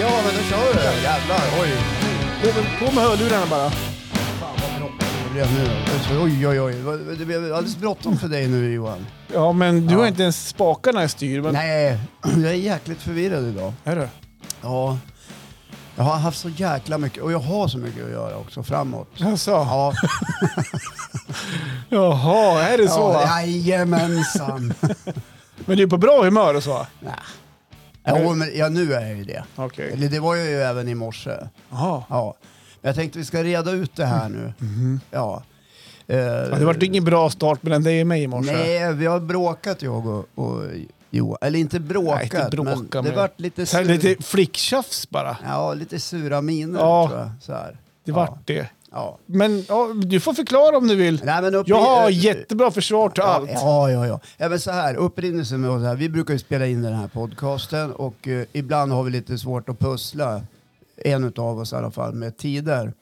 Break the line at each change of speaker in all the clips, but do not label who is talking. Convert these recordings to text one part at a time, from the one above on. Ja, men nu kör vi! Jävlar, oj!
På med, på med hörlurarna bara.
Fan vad bråttom det blev nu. Oj, oj, oj. Vad- Det blev alldeles bråttom för dig nu Johan.
Ja, men du
Ja.
har inte ens spakarna i styr. Men...
Nej, jag är jäkligt förvirrad idag.
Är du?
Ja. Jag har haft så jäkla mycket, och jag har så mycket att göra också framåt.
Alltså,
Ja,
Jaha, är det så? va?
ja jajamensan.
Men du är på bra humör och så?
Nä. Ja, men, ja, nu är jag ju det.
Okej.
Eller det var jag ju även i morse.
Jaha.
Ja. Men jag tänkte vi ska reda ut det här nu. Ja. Eh,
Ja, det vart ingen bra start mellan dig och mig i morse.
Nej, vi har bråkat jag och, och Johan. Eller inte bråkat,
Nej, inte bråka,
men det
men-
vart lite,
Så här,
sur,
lite flicktjafs bara.
Ja, lite sura miner
Ja.
tror jag. Så här.
Det
ja.
vart det.
Ja.
Men ja, du får förklara om du vill.
Nej, men upp
Jag har
eh,
jättebra försvar till
Ja,
allt.
ja, ja, ja. Även så här, upprinnelsen med oss här. Vi brukar ju spela in den här podcasten och eh, ibland har vi lite svårt att pussla, en utav oss i alla fall, med tider.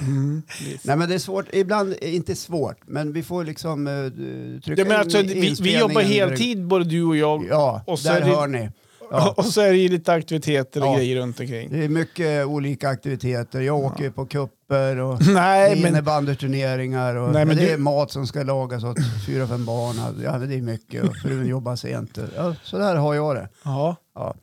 Mm.
Nej men det är svårt, ibland, eh, inte svårt, men vi får liksom eh, d- trycka
Ja, men alltså,
in
vi, vi
inspelningen
jobbar
när det-
heltid både du och jag.
Ja,
Och så
där
är det-
hör ni. Ja.
Och så är det ju lite aktiviteter och
Ja.
grejer runt omkring.
Det är mycket olika aktiviteter. Jag åker ju på kupper och
Nej, men
innebandyturneringar och
Nej, men
det
du-
är mat som ska lagas åt fyra, fem barn. Ja, men det är mycket och frun jobbar sent. Ja, så där har jag det.
ja.
Ja.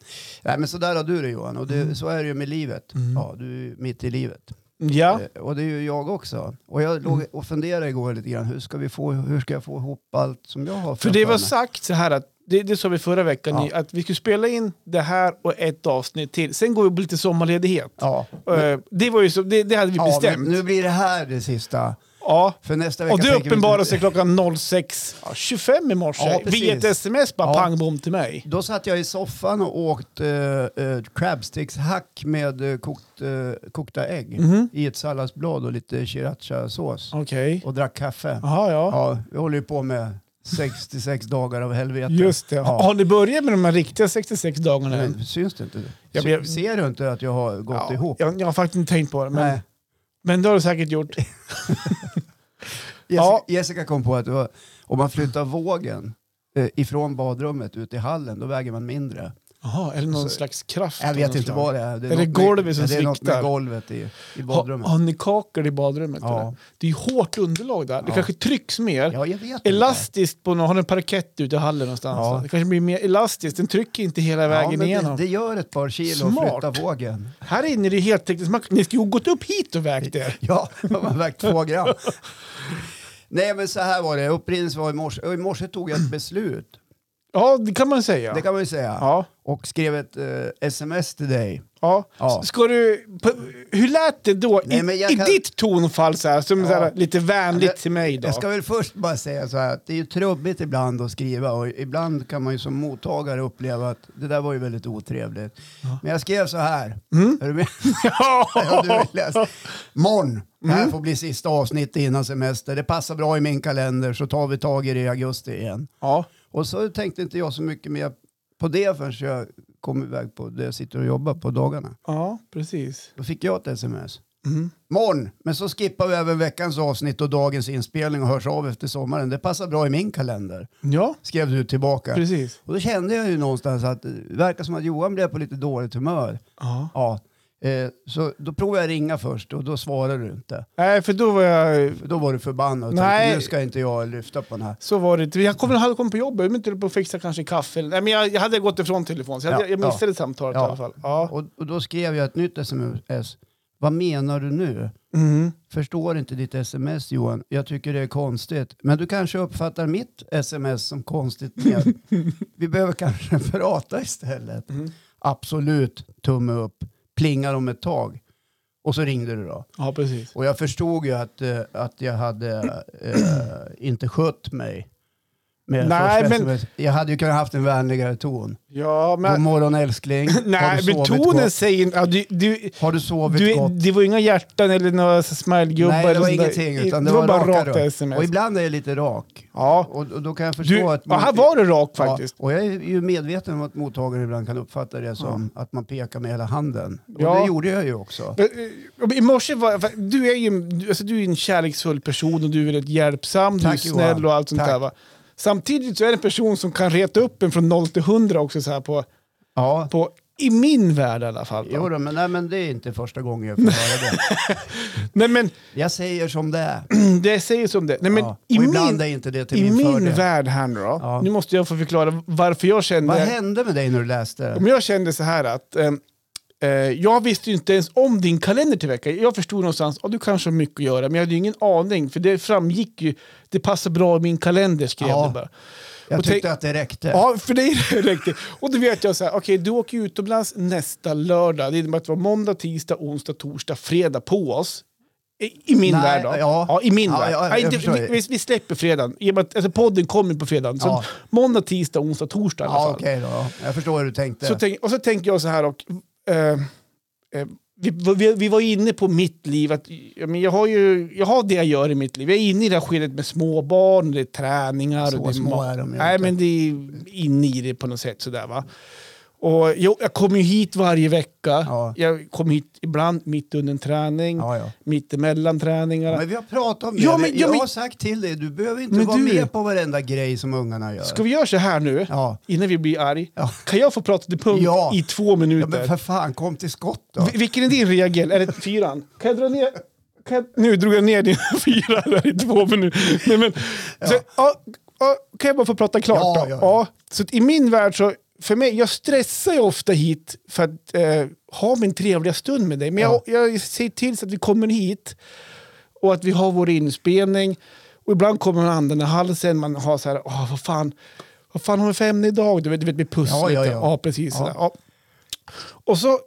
Nej, men så där har du det Johan och
Mm.
det, så är det ju med livet. Ja, du är mitt i livet.
Ja. Mm.
Eh, Och det är ju jag också. Och jag låg och funderade igår lite grann, hur ska, vi få, hur ska jag få ihop allt som jag har
För
framför
det var
mig?
sagt så här att, det, det sa vi förra veckan,
Ja.
ju, att vi skulle spela in det här och ett avsnitt till. Sen går vi på lite sommarledighet.
Ja,
Eh, det, var ju så, det, det hade vi
ja men
bestämt.
nu blir det här det sista.
Ja.
För nästa vecka
Och det
tänker vi-
uppenbarade sig klockan 06.25 i morse
Ja, precis.
via ett sms bara
Ja.
pang bom till mig.
Då satt jag i soffan och åt eh, eh, crabstickshack med eh, kokt, eh, kokta ägg
Mhm.
i ett salladsblad och lite srirachasås
Okej.
och drack kaffe.
Jaha, ja.
Ja, vi håller ju på med 66 dagar av helvete.
Just det.
Ja.
Har ni börjat med de här riktiga 66 dagarna än?
Men, syns det inte?
Ja, men jag-
Sy- Ser du inte att jag har gått
Ja,
ihop?
Jag, jag har faktiskt inte tänkt på det, men,
Nej.
men det har du säkert gjort.
Jessica,
Ja.
Jessica kom på att det var, om man flyttar vågen eh, ifrån badrummet ut i hallen, då väger man mindre.
Jaha, är det någon
Så-
slags kraft?
Jag
av
vet
något
inte
slag?
vad det är. Det
Är det
något med-
golvet som
Det är något med
sviktar?
golvet i, i
Ha,
badrummet.
har ni kakel i badrummet?
Ja.
Eller? Det är hårt underlag där. Det
Ja.
kanske trycks mer.
Ja, jag vet inte.
Elastiskt på någon, har ni en parkett ute i hallen någonstans?
Ja.
Det kanske blir mer elastiskt, den trycker inte hela vägen
men
igenom.
Det, det gör ett par kilo att
Smart.
flytta vågen.
Här inne är det helt tekniskt. Man- Ni skulle ju gått upp hit och vägt er.
Ja, man har vägt två gram. Nej men så här var det, upprinnelsen var i morse. Och I morse tog jag ett beslut,
Ja, det kan man säga.
det kan man ju säga.
Ja.
Och skrev ett eh, sms till dig.
Ja.
Ja.
S- Ska du... På, hur lät det då? I,
Nej, men jag
i
kan-
ditt tonfall så här, som
Ja.
så här, lite
Jag-
vänligt till mig då?
Jag ska väl först bara säga så här att det är ju trubbigt ibland att skriva och ibland kan man ju som mottagare uppleva att det där var ju väldigt otrevligt. Men jag skrev så här,
Mm.
är du med? Ja, du har läst. Morgon, det här får bli sista avsnittet innan semester. Det passar bra i min kalender så tar vi tag i det i augusti igen.
ja.
Och så tänkte inte jag så mycket mer på det förrän jag kom iväg på det jag sitter och jobbar på dagarna.
ja, precis.
Då fick jag ett sms. Morgon, men så skippar vi även veckans avsnitt och dagens inspelning och hörs av efter sommaren. Det passar bra i min kalender,
Ja,
skrev du tillbaka.
precis.
Och då kände jag ju någonstans att det verkar som att Johan blev på lite dåligt humör.
Ja.
Ja, eh, så då provade jag ringa först och då svarade du inte.
Nej, för då var jag...
För Då var du förbannad och
Nej.
tänkte nu ska inte jag lyfta på den här.
Så var det inte. Jag kom, hade kommit på jobbet, jag var inte på att fixa kanske kaffe. eller- Nej, men jag, jag hade gått ifrån telefonen, så jag,
Ja,
hade- jag missade samtalet
Ja.
i alla fall. Ja.
Och, och då skrev jag ett nytt sms. Vad menar du nu?
Mm.
Förstår inte ditt sms Johan. Jag tycker det är konstigt. Men du kanske uppfattar mitt sms som konstigt med. Vi behöver kanske prata istället.
Mm.
Absolut, tumme upp. Plingar om ett tag. Och så ringde du då.
ja, precis.
Och jag förstod ju att, eh, att jag hade eh, inte skött mig. Med
Nej,
Nej,
men-
men... Jag hade ju kunnat haft en vänligare ton.
Ja,
God
men...
morgon älskling. Har
Nej,
du
men
sovit
tonen
gott?
säger inte... Ja, du, du,
Har du sovit
du,
gott?
det var ju inga hjärtan eller några så smilegubbar.
Nej, det
eller
var
sånt där.
ingenting. Utan
det var bara
raka
raka
rör.
sms.
Och ibland är jag lite rak.
ja.
Och, och då kan jag förstå
Du,
att...
ja, här var det rak faktiskt.
Ja, och jag är ju medveten om att mottagaren ibland kan uppfatta det som att man pekar med hela handen. Och
Ja.
det gjorde jag ju också.
Men, eh, I morse var för du är ju du- alltså, du är en kärleksfull person och du är väldigt hjälpsam, du är
Tack, Johan.
snäll och allt sånt
Tack.
där. Va? Samtidigt så är det en person som kan reta upp en från 0 till 100 också så här på,
Ja,
på I min värld i alla fall. då.
Jo då, men, nej, men det är inte första gången jag får höra det.
Nej, men
Jag säger som det är.
det säger som det. Nej, men
ja.
i
Och ibland
min,
är inte det till
i
min,
min
fördel.
värld här nu då.
Ja.
Nu måste jag få förklara varför jag
Vad
kände...
hände med dig när du läste det?
Men jag kände så här att eh, eh, jag visste ju inte ens om din kalender till veckan. Jag förstod någonstans att du kanske har mycket att göra, men jag hade ju ingen aning. För det framgick ju, det passar bra i min kalender skrev
Ja.
du bara.
Jag
och tänk-
tyckte att det räckte.
Ja, för dig räckte det. Och då vet jag så här, okej du åker ju utomlands nästa lördag. Det innebär att det var måndag, tisdag, onsdag, torsdag, fredag på oss. I, i min
Nej,
värld då.
ja.
i min
Ja,
värld.
ja, jag
Nej, inte-
förstår.
vi, vi- vi släpper fredagen. I och med att, alltså, podden kommer på fredagen. Så
Ja.
måndag, tisdag, onsdag, torsdag i alla
Ja,
fall.
okej då. Jag förstår hur du tänkte.
alltså. Så tänk, och så tänker jag så här, och, eh, eh, vi, vi, vi var inne på mitt liv, att, ja, men jag, har ju, jag har det jag gör i mitt liv. Jag är inne i det här skedet med småbarn, det är träningar.
Så
och det är
små
mat.
är de ju
Nej,
inte.
men det är inne i det på något sätt. Sådär, va? Och jag, jag kommer ju hit varje vecka.
Ja.
Jag kommer hit ibland mitt under en träning,
Ja, ja.
mitt emellan träningarna.
Men vi har pratat om det.
Ja, men- ja,
jag
men-
har sagt till dig, du behöver inte
Men
vara
du-
med på varenda grej som ungarna gör.
Ska vi göra så här nu,
Ja.
innan vi blir arg?
Ja.
Kan jag få prata till punkt
Ja.
i två minuter?
ja, men för fan, kom till skott då.
Vil- Vilken är din regel? Är det fyran? Kan jag dra ner? Kan jag... Nu drog jag ner din fyra där i två minuter. Nej, men, så, ja, ja, kan jag bara få prata klart
Ja,
då?
ja, ja.
så att I min värld så, för mig, jag stressar ju ofta hit för att eh, ha min trevliga stund med dig. Men
Ja.
jag, jag ser till så att vi kommer hit och att vi har vår inspelning. Och ibland kommer man andan i halsen, man har så här, åh, vad fan, vad fan har vi för ämne idag? Du vet, du vet med pusslet.
Ja, ja, ja.
precis.
Ja.
sådär. Ja. Och så,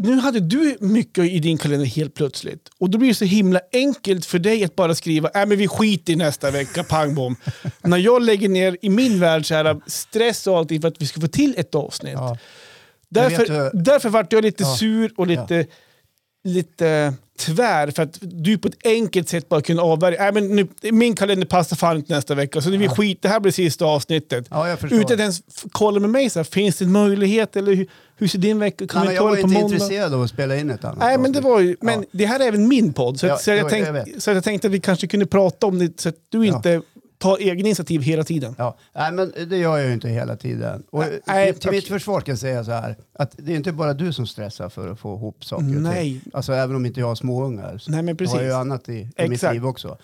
nu hade du mycket i din kalender helt plötsligt. Och då blir det så himla enkelt för dig att bara skriva, nej men vi skiter i nästa vecka, pang bom. När jag lägger ner i min värld så här, äh, stress och allting för att vi ska få till ett avsnitt.
Ja. Men vet
Därför,
du-
därför vart jag lite
Ja.
sur och lite, lite äh, tvär för att du på ett enkelt sätt bara kunde avvärja. Nej, men nu, min kalender passar fan inte nästa vecka så det blir skit, det här blir sista avsnittet.
Ja, jag förstår.
Utan att ens f- kolla med mig, så här, finns det en möjlighet eller hur, hur ser din vecka ut? Kan
Nej, men
vi
jag
ta
var
det på
inte
måndag?
intresserad av att spela in ett annat
Nej, men det
avsnitt.
var ju, men det här är även min podd, så, att,
Ja,
så, att jag
jo, jag
tänkte,
vet.
så att jag tänkte att vi kanske kunde prata om det så att du inte tar egna initiativ hela tiden.
Ja. Nej, men det gör jag ju inte hela tiden. Och
Nej, nej,
till till mitt
okej.
försvar ska jag säga så här, att det är inte bara du som stressar för att få ihop saker
Nej.
och ting. Alltså även om inte jag har småungar. Så
Nej, men
Jag har
precis.
ju annat i, i mitt
Exakt.
liv också.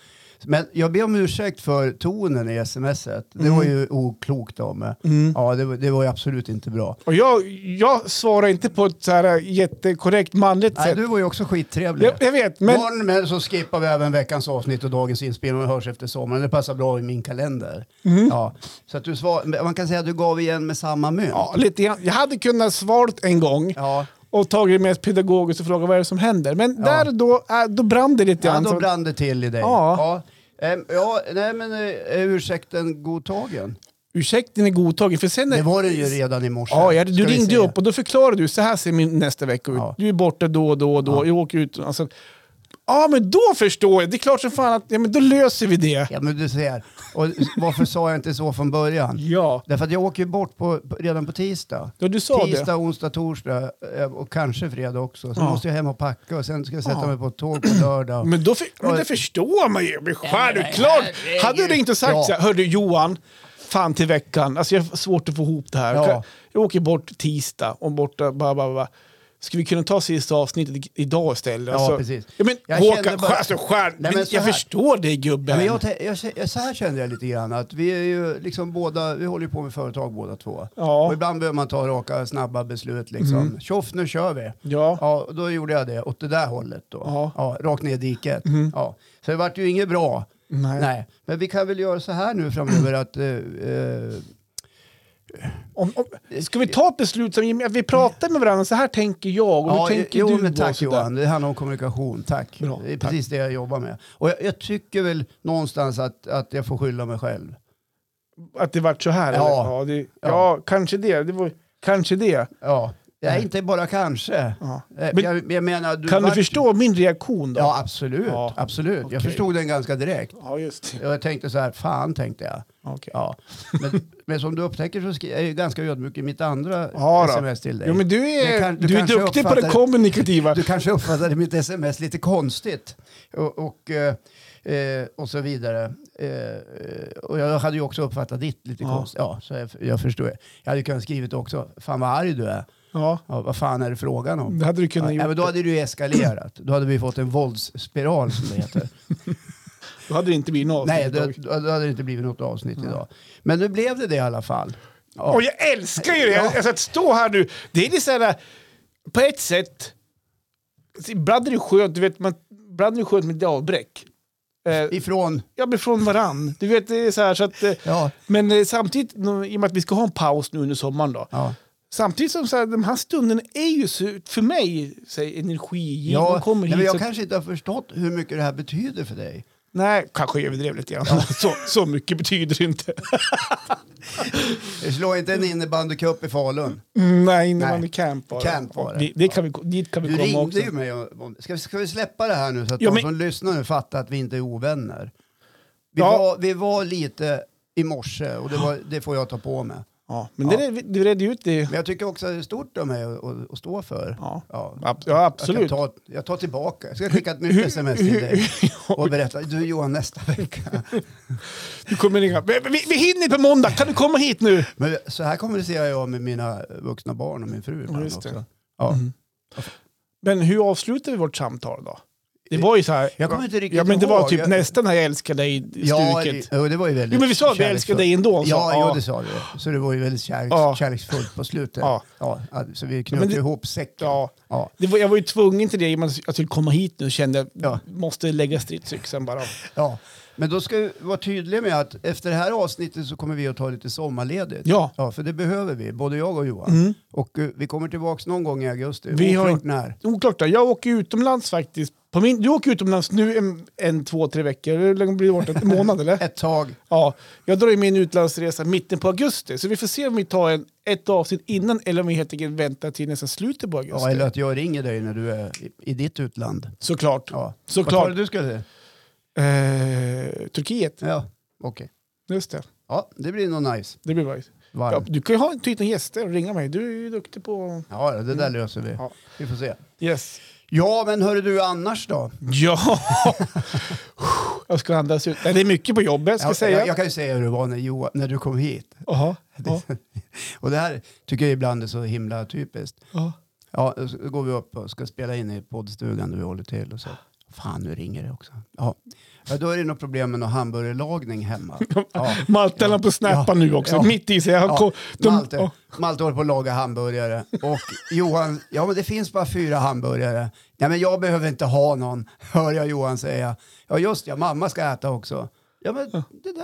Men jag ber om ursäkt för tonen i smset. Det
Mm.
var ju oklokt av mig. Ja, det, var- det var ju absolut inte bra.
Och jag, jag svarar inte på ett så här jättekorrekt manligt
Nej,
sätt.
du var ju också skittrevlig.
Jag, jag vet, men...
Morgon men så skippar vi även veckans avsnitt och dagens inspelning och hörs efter sommaren. Det passar bra i min kalender.
Mm.
Ja, så att du svar, man kan säga att du gav igen med samma mynt.
Ja, lite grann. Jag hade kunnat svart en gång
Ja.
och tagit det mest pedagogiskt och frågat vad är det som händer. Men
Ja.
där då, äh, då brann det lite
Ja,
grann.
då
så-
brann det till i dig.
Ja.
Ja, Ehm, ja nej men eh, ursäkten godtagen.
Ursäkten är godtagen. För sen när-
Det var det ju redan i morse.
Ja, jag, du
Ska vi
ringde
se.
upp och då förklarade du, så här ser min nästa vecka ut.
Ja.
Du är borta då och då och då, jag åker ut. Alltså, ja, men då förstår jag. Det är klart som fan att ja, men då löser vi det.
Ja, men du ser. Och varför sa jag inte så från början?
Ja,
Därför att jag åker ju bort på, på, redan på tisdag.
ja du sa
Tisdag,
det.
onsdag, torsdag eh, och kanske fredag också. Sen
Ja.
måste jag hem och packa och sen ska jag sätta
Ja.
mig på ett tåg på lördag.
Men, då för, men det förstår man ju. Men självklart. Hade du ringt och sagt
Ja.
så här, hörru Johan, fan till veckan, alltså jag har svårt att få ihop det här.
Ja.
Jag åker bort tisdag och borta, bara, bara, bara. Ska vi kunna ta sista avsnittet i- idag istället? Alltså,
Ja, precis.
Ja, men,
Jag kände
Håkan,
bara-
alltså, själv,
Nej, men
men
så
jag
här.
förstår dig gubben.
Men jag, tän- jag, jag, så här kände jag lite grann att vi är ju liksom båda, vi håller ju på med företag båda två.
Ja. Mm.
Och ibland behöver man ta raka snabba beslut liksom. Tjoff nu kör vi.
Ja.
Ja, och då gjorde jag det åt det där hållet då.
Ja. Mm.
rakt ner i diket. Ja. Så det vart ju inget bra.
Nej.
Nej. Men vi kan väl göra så här nu framöver att eh, eh,
Om, om, ska vi ta ett beslut som att vi pratar med varandra, så här tänker jag och hur tänker
jo,
du?
Men
och
tack
sådär?
Johan, det handlar om kommunikation. Tack.
Bra,
det är precis det jag jobbar med. Och jag, jag tycker väl någonstans att, att jag får skylla mig själv.
Att det vart så här?
Ja.
eller? Ja, det, ja. kanske det. det var, kanske det.
Ja. Nej, inte bara kanske.
Ja.
Eh,
Men
jag, jag menar, du
kan du
vart-
förstå min reaktion då?
Ja, absolut.
Ja.
absolut.
Okej.
Jag förstod den ganska direkt.
Ja, just det.
Jag tänkte så här, fan tänkte jag.
Okej.
Ja. Men, men som du upptäcker så skri- jag är jag ju ganska ödmjuk i mitt andra
Ja, då.
sms till dig.
Jo, men du
Men
är,
kan- du
du är
kanske
duktig på det
uppfattar-
kommunikativa.
Du kanske uppfattade mitt sms lite konstigt och, och, eh, eh, och så vidare. Eh, eh, och jag hade ju också uppfattat ditt lite
Ja.
konstigt. Ja, så jag, jag förstår. Jag hade ju kunnat skrivit också, fan vad arg du är.
Ja,
Ja, vad fan är det frågan om?
det hade du kunnat
Ja,
gjort.
men då hade det ju eskalerat. Då hade vi fått en våldsspiral som det heter.
Då hade det inte blivit något.
Nej, då, då hade det inte blivit något avsnitt idag. Men nu blev det det i alla fall. Ja.
Och jag älskar ju det! Alltså att stå här nu, det är lite såhär, på ett sätt, ibland är det skönt, du vet, man, ibland är det skönt med lite avbräck. Eh,
Ifrån,
jag blir från varann. Du vet, det är så här, så att, eh,
ja.
men eh, samtidigt, nå- i och med att vi ska ha en paus nu under sommaren då,
ja.
samtidigt som så här, de här stunderna är ju så, för mig så här, energigivande.
Ja,
Man kommer
nej,
hit,
men
så
jag
att-
kanske inte har förstått hur mycket det här betyder för dig.
nej, kanske jag överdrev lite grann. Så, så mycket betyder det inte.
Jag slår inte en innebandycup i Falun.
nej, när
Nej.
man är camp bara.
Camp var det.
Det, det kan vi, dit kan vi
Du
komma
ringde
också.
ju mig. och- om- Ska vi, ska vi släppa det här nu så att
Ja,
de
men-
som lyssnar nu fattar att vi inte är ovänner? Vi,
Ja.
var, vi var lite i morse och det, var, det får jag ta på mig.
Ja, men
Ja.
Det, red- du redde ut det.
Men jag tycker också att det är stort av mig att, att, att stå för.
Ja,
Ja.
ab- ja
Jag, kan
absolut.
ta, jag tar tillbaka. Jag ska skicka ett nytt sms till dig och berätta. Du Johan, nästa vecka.
Du kommer ringa. Vi, vi, vi hinner på måndag, kan du komma hit nu?
Men så här kommunicerar jag med mina vuxna barn och min fru ibland
just det. Mm.
också. Ja.
Men hur avslutar vi vårt samtal då? Det var ju så här.
Jag kommer inte riktigt
ja, men det var
ihåg.
typ
Jag-
nästan här jag älskar dig-stuket.
Ja, det, det var ju väldigt
Jo, men vi sa att vi
kärleksfullt.
älskar dig ändå, så-
ja,
ja.
ja, det sa vi. Så det var ju väldigt kärleks,
Ja.
kärleksfullt på slutet.
Ja.
Ja. så vi knöt
Men det-
ihop säcken.
Ja.
Ja.
Det var, jag var ju tvungen till det i och med att jag skulle komma hit nu kände jag
Ja.
måste lägga stridsyxan bara.
Ja. Men då ska vi vara tydliga med att efter det här avsnittet så kommer vi att ta lite sommarledigt.
Ja. Mm.
ja för det behöver vi, både jag och Johan. Och eh, vi kommer tillbaka någon gång i augusti.
Vi har
Oklart
inte-
när.
Oklart då. Jag åker utomlands faktiskt. På min, du åker utomlands nu en, en två, tre veckor. Hur länge blir det borta? En månad eller?
Ett tag.
Ja, jag drar ju min utlandsresa mitten på augusti, så vi får se om vi tar en, ett avsnitt innan eller om vi helt enkelt väntar till nästan slutet på augusti.
Ja, eller att jag ringer dig när du är i, i ditt utland.
Såklart.
Ja.
Såklart.
Vad var det du skulle säga?
Eh, Turkiet,
Ja, okej.
just det.
Ja, det blir nog nice.
Det blir nice. Ja,
Varmt.
du kan ju ha typ ta hit några gäster och ringa mig. Du är ju duktig på...
Ja, det där löser vi.
Mm. Ja.
Vi får se.
Yes.
Ja, men hörru du annars då?
Ja! jag ska andas ut. Nej, det är mycket på jobbet, ska
Ja,
jag säga.
Jag, jag kan ju säga hur det var när, Johan, när du kom hit.
Jaha. Ja.
Och det här tycker jag ibland är så himla typiskt.
Ja.
Ja, så går vi upp och ska spela in i poddstugan där vi håller till och så. Fan, nu ringer det också. Ja, ja då är det nog problem med någon hamburgerlagning hemma. Ja.
Malte höll på att snappa
Ja.
nu också,
Ja.
mitt i sig. Jag
Ja,
kom, de,
Malte,
Ja.
Malte håller på att laga hamburgare och Johan, ja men det finns bara fyra hamburgare. Ja men jag behöver inte ha någon, hör jag Johan säga. Ja just ja, mamma ska äta också. Ja men det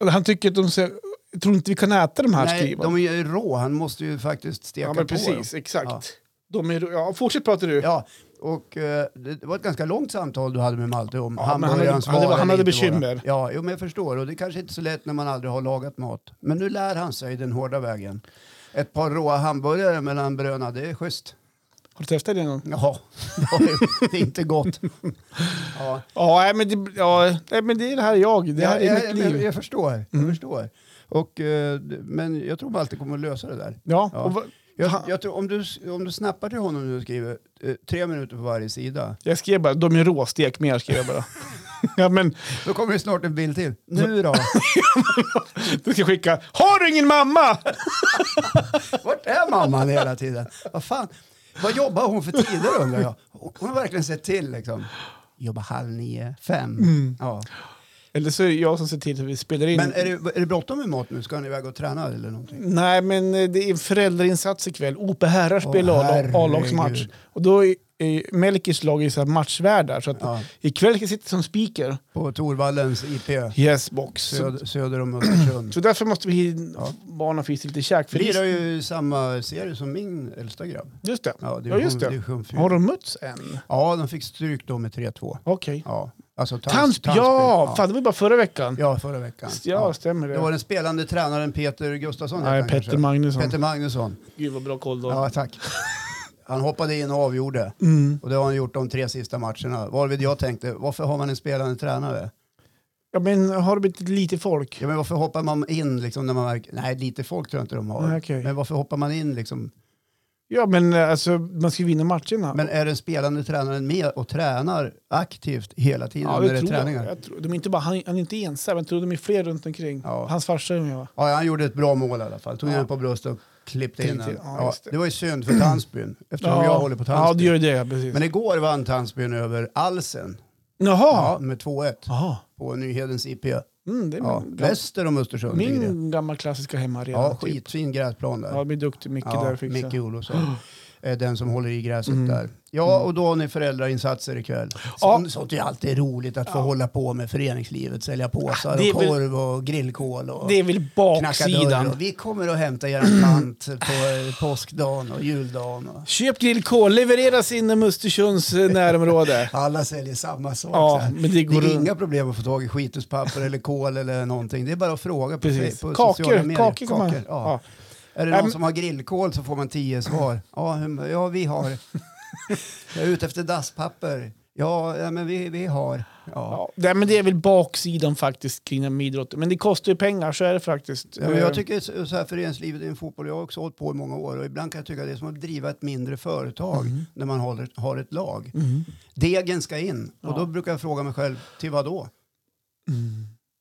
där,
Han tycker att de säger, tror inte vi kan äta de här
nej
skrivarna.
de är ju rå, han måste ju faktiskt steka
Ja, men
på dem.
precis. Exakt.
Ja.
De är, ja, fortsätt prata du.
Ja, och eh, det var ett ganska långt samtal du hade med Malte om
Ja, men han hade-
hamburgarens
han hade-
vara
han
eller
hade
inte vara.
bekymmer.
Ja, jo, men jag förstår. Och det är kanske inte så lätt när man aldrig har lagat mat. Men nu lär han sig den hårda vägen. Ett par råa hamburgare mellan bröna, det är schysst.
Har du testat det någon gång?
Jaha, Ja, det- det är inte gott. Ja.
Ja, nej, men det, ja, nej, men det är det här jag. Det här
jag,
är mitt
jag, jag,
liv.
jag förstår. Jag förstår. Och, eh, d- men jag tror Malte kommer att lösa det där.
Ja,
Ja.
och vad-
Jag,
Han-
jag tror, om, du, s- om du snappar till honom nu och skriver eh, tre minuter på varje sida,
jag skrev bara, de är råstek mer, skrev jag bara. ja, men
då kommer det snart en bild till. Nu då?
du ska skicka, har du ingen mamma?
Vart är mamman hela tiden? Vad fan? Vad jobbar hon för tider undrar jag? Hon har verkligen sett till liksom. Jobbar halv nio, fem. Ja.
Eller så är det jag som ser till att vi spelar in.
Men är det, är det bråttom med mat nu? Ska ni iväg och träna eller någonting?
Nej, men eh, det är en föräldrainsats ikväll. OP herrar spelar
herregud.
oh, A-lagsmatch. Och då är, är Melkis lag är så här matchvärdar, så att
Ja.
ikväll ska jag sitta som speaker.
På Torvallens IP
Yes, box. Så,
söd, söder om Östersund.
så därför måste vi barna få i sig lite käk. För det-
Lirar ju i samma serie som min äldsta grabb.
Just det.
Ja, det är
Ja, just det.
division fyra.
Har de mötts än?
Ja, de fick stryk då med 3-2.
Okej.
Ja, alltså Tans-
Tandsby,
Tandsby.
ja! Fan, det var ju bara förra veckan. Ja,
ja, förra veckan. Ja.
stämmer det.
Det var den spelande tränaren Peter Gustafsson. heter
Nej,
han
Petter
kanske.
Magnusson.
Peter Magnusson.
Gud vad bra koll då.
Ja, tack. Han hoppade in och avgjorde.
Mm.
Och det har han gjort de tre sista matcherna. Varvid jag tänkte, varför har man en spelande tränare?
Ja, men har det blivit lite folk?
Ja, men varför hoppar man in liksom när man märker, nej lite folk tror jag inte de har.
Nej, okej.
Men varför hoppar man in liksom?
Ja, men eh, alltså man ska ju vinna matcherna.
Men är den spelande tränaren med och tränar aktivt hela tiden
ja,
när
det
det är
tror jag.
träningar?
jag tror, de är inte bara, han, han är inte ensam, jag tror de är fler runt omkring.
Ja.
Hans farsa är med va?
Ja, han gjorde ett bra mål i alla fall. Tog
Ja.
den på bröstet, klippte in
Klippte
den.
in, ja,
Ja,
just det.
det var ju synd för Tandsbyn, eftersom jag håller på
Ja, du
Tandsbyn.
gör ju det. Precis.
Men igår vann Tandsbyn över Alsen ja.
Jaha!
med 2-1
Jaha.
på Nyhedens IP.
Mm, det är
Ja,
min, gam-
väster om Östersund. ligger det.
min gamla klassiska hemmaarena.
Ja,
typ.
skitfin gräsplan där.
Ja, det blir duktig Micke där Mm. fick
Micke
jag.
Olofsson. är Den som håller i gräset där. Ja, och då har ni föräldrainsatser ikväll. Sånt, sånt är ju alltid roligt att få hålla på med föreningslivet. Sälja påsar
det är
och
väl-
korv och grillkol och
Det är väl
knacka dörr.
baksidan.
Och vi kommer att hämta er tant på eh, påskdagen och juldagen. Och
Köp grillkol, levereras inom Östersunds eh, närområde.
alla säljer samma sak.
Ja,
så här.
men det går
är
runt.
inga problem att få tag i skituspapper eller kol eller någonting. Det är bara att fråga på,
Precis.
på sociala
Kakor,
medier.
kakor kommer man.
ja.
Ja.
Är det
Nej,
någon
men-
som har grillkol så får man tio svar. Ja, hur- ja vi har. Jag är ute efter dasspapper. Ja, ja men vi, vi har. Ja.
Ja, nej, men det är väl baksidan faktiskt kring den med idrotten. Men det kostar ju pengar, så är det faktiskt.
Ja, men jag
Eh,
tycker så så här föreningslivet inom fotboll, jag har också hållit på i många år och ibland kan jag tycka det är som att driva ett mindre företag
Mm.
när man håller, har ett lag. Degen ska in och
Ja.
då brukar jag fråga mig själv, till vad då?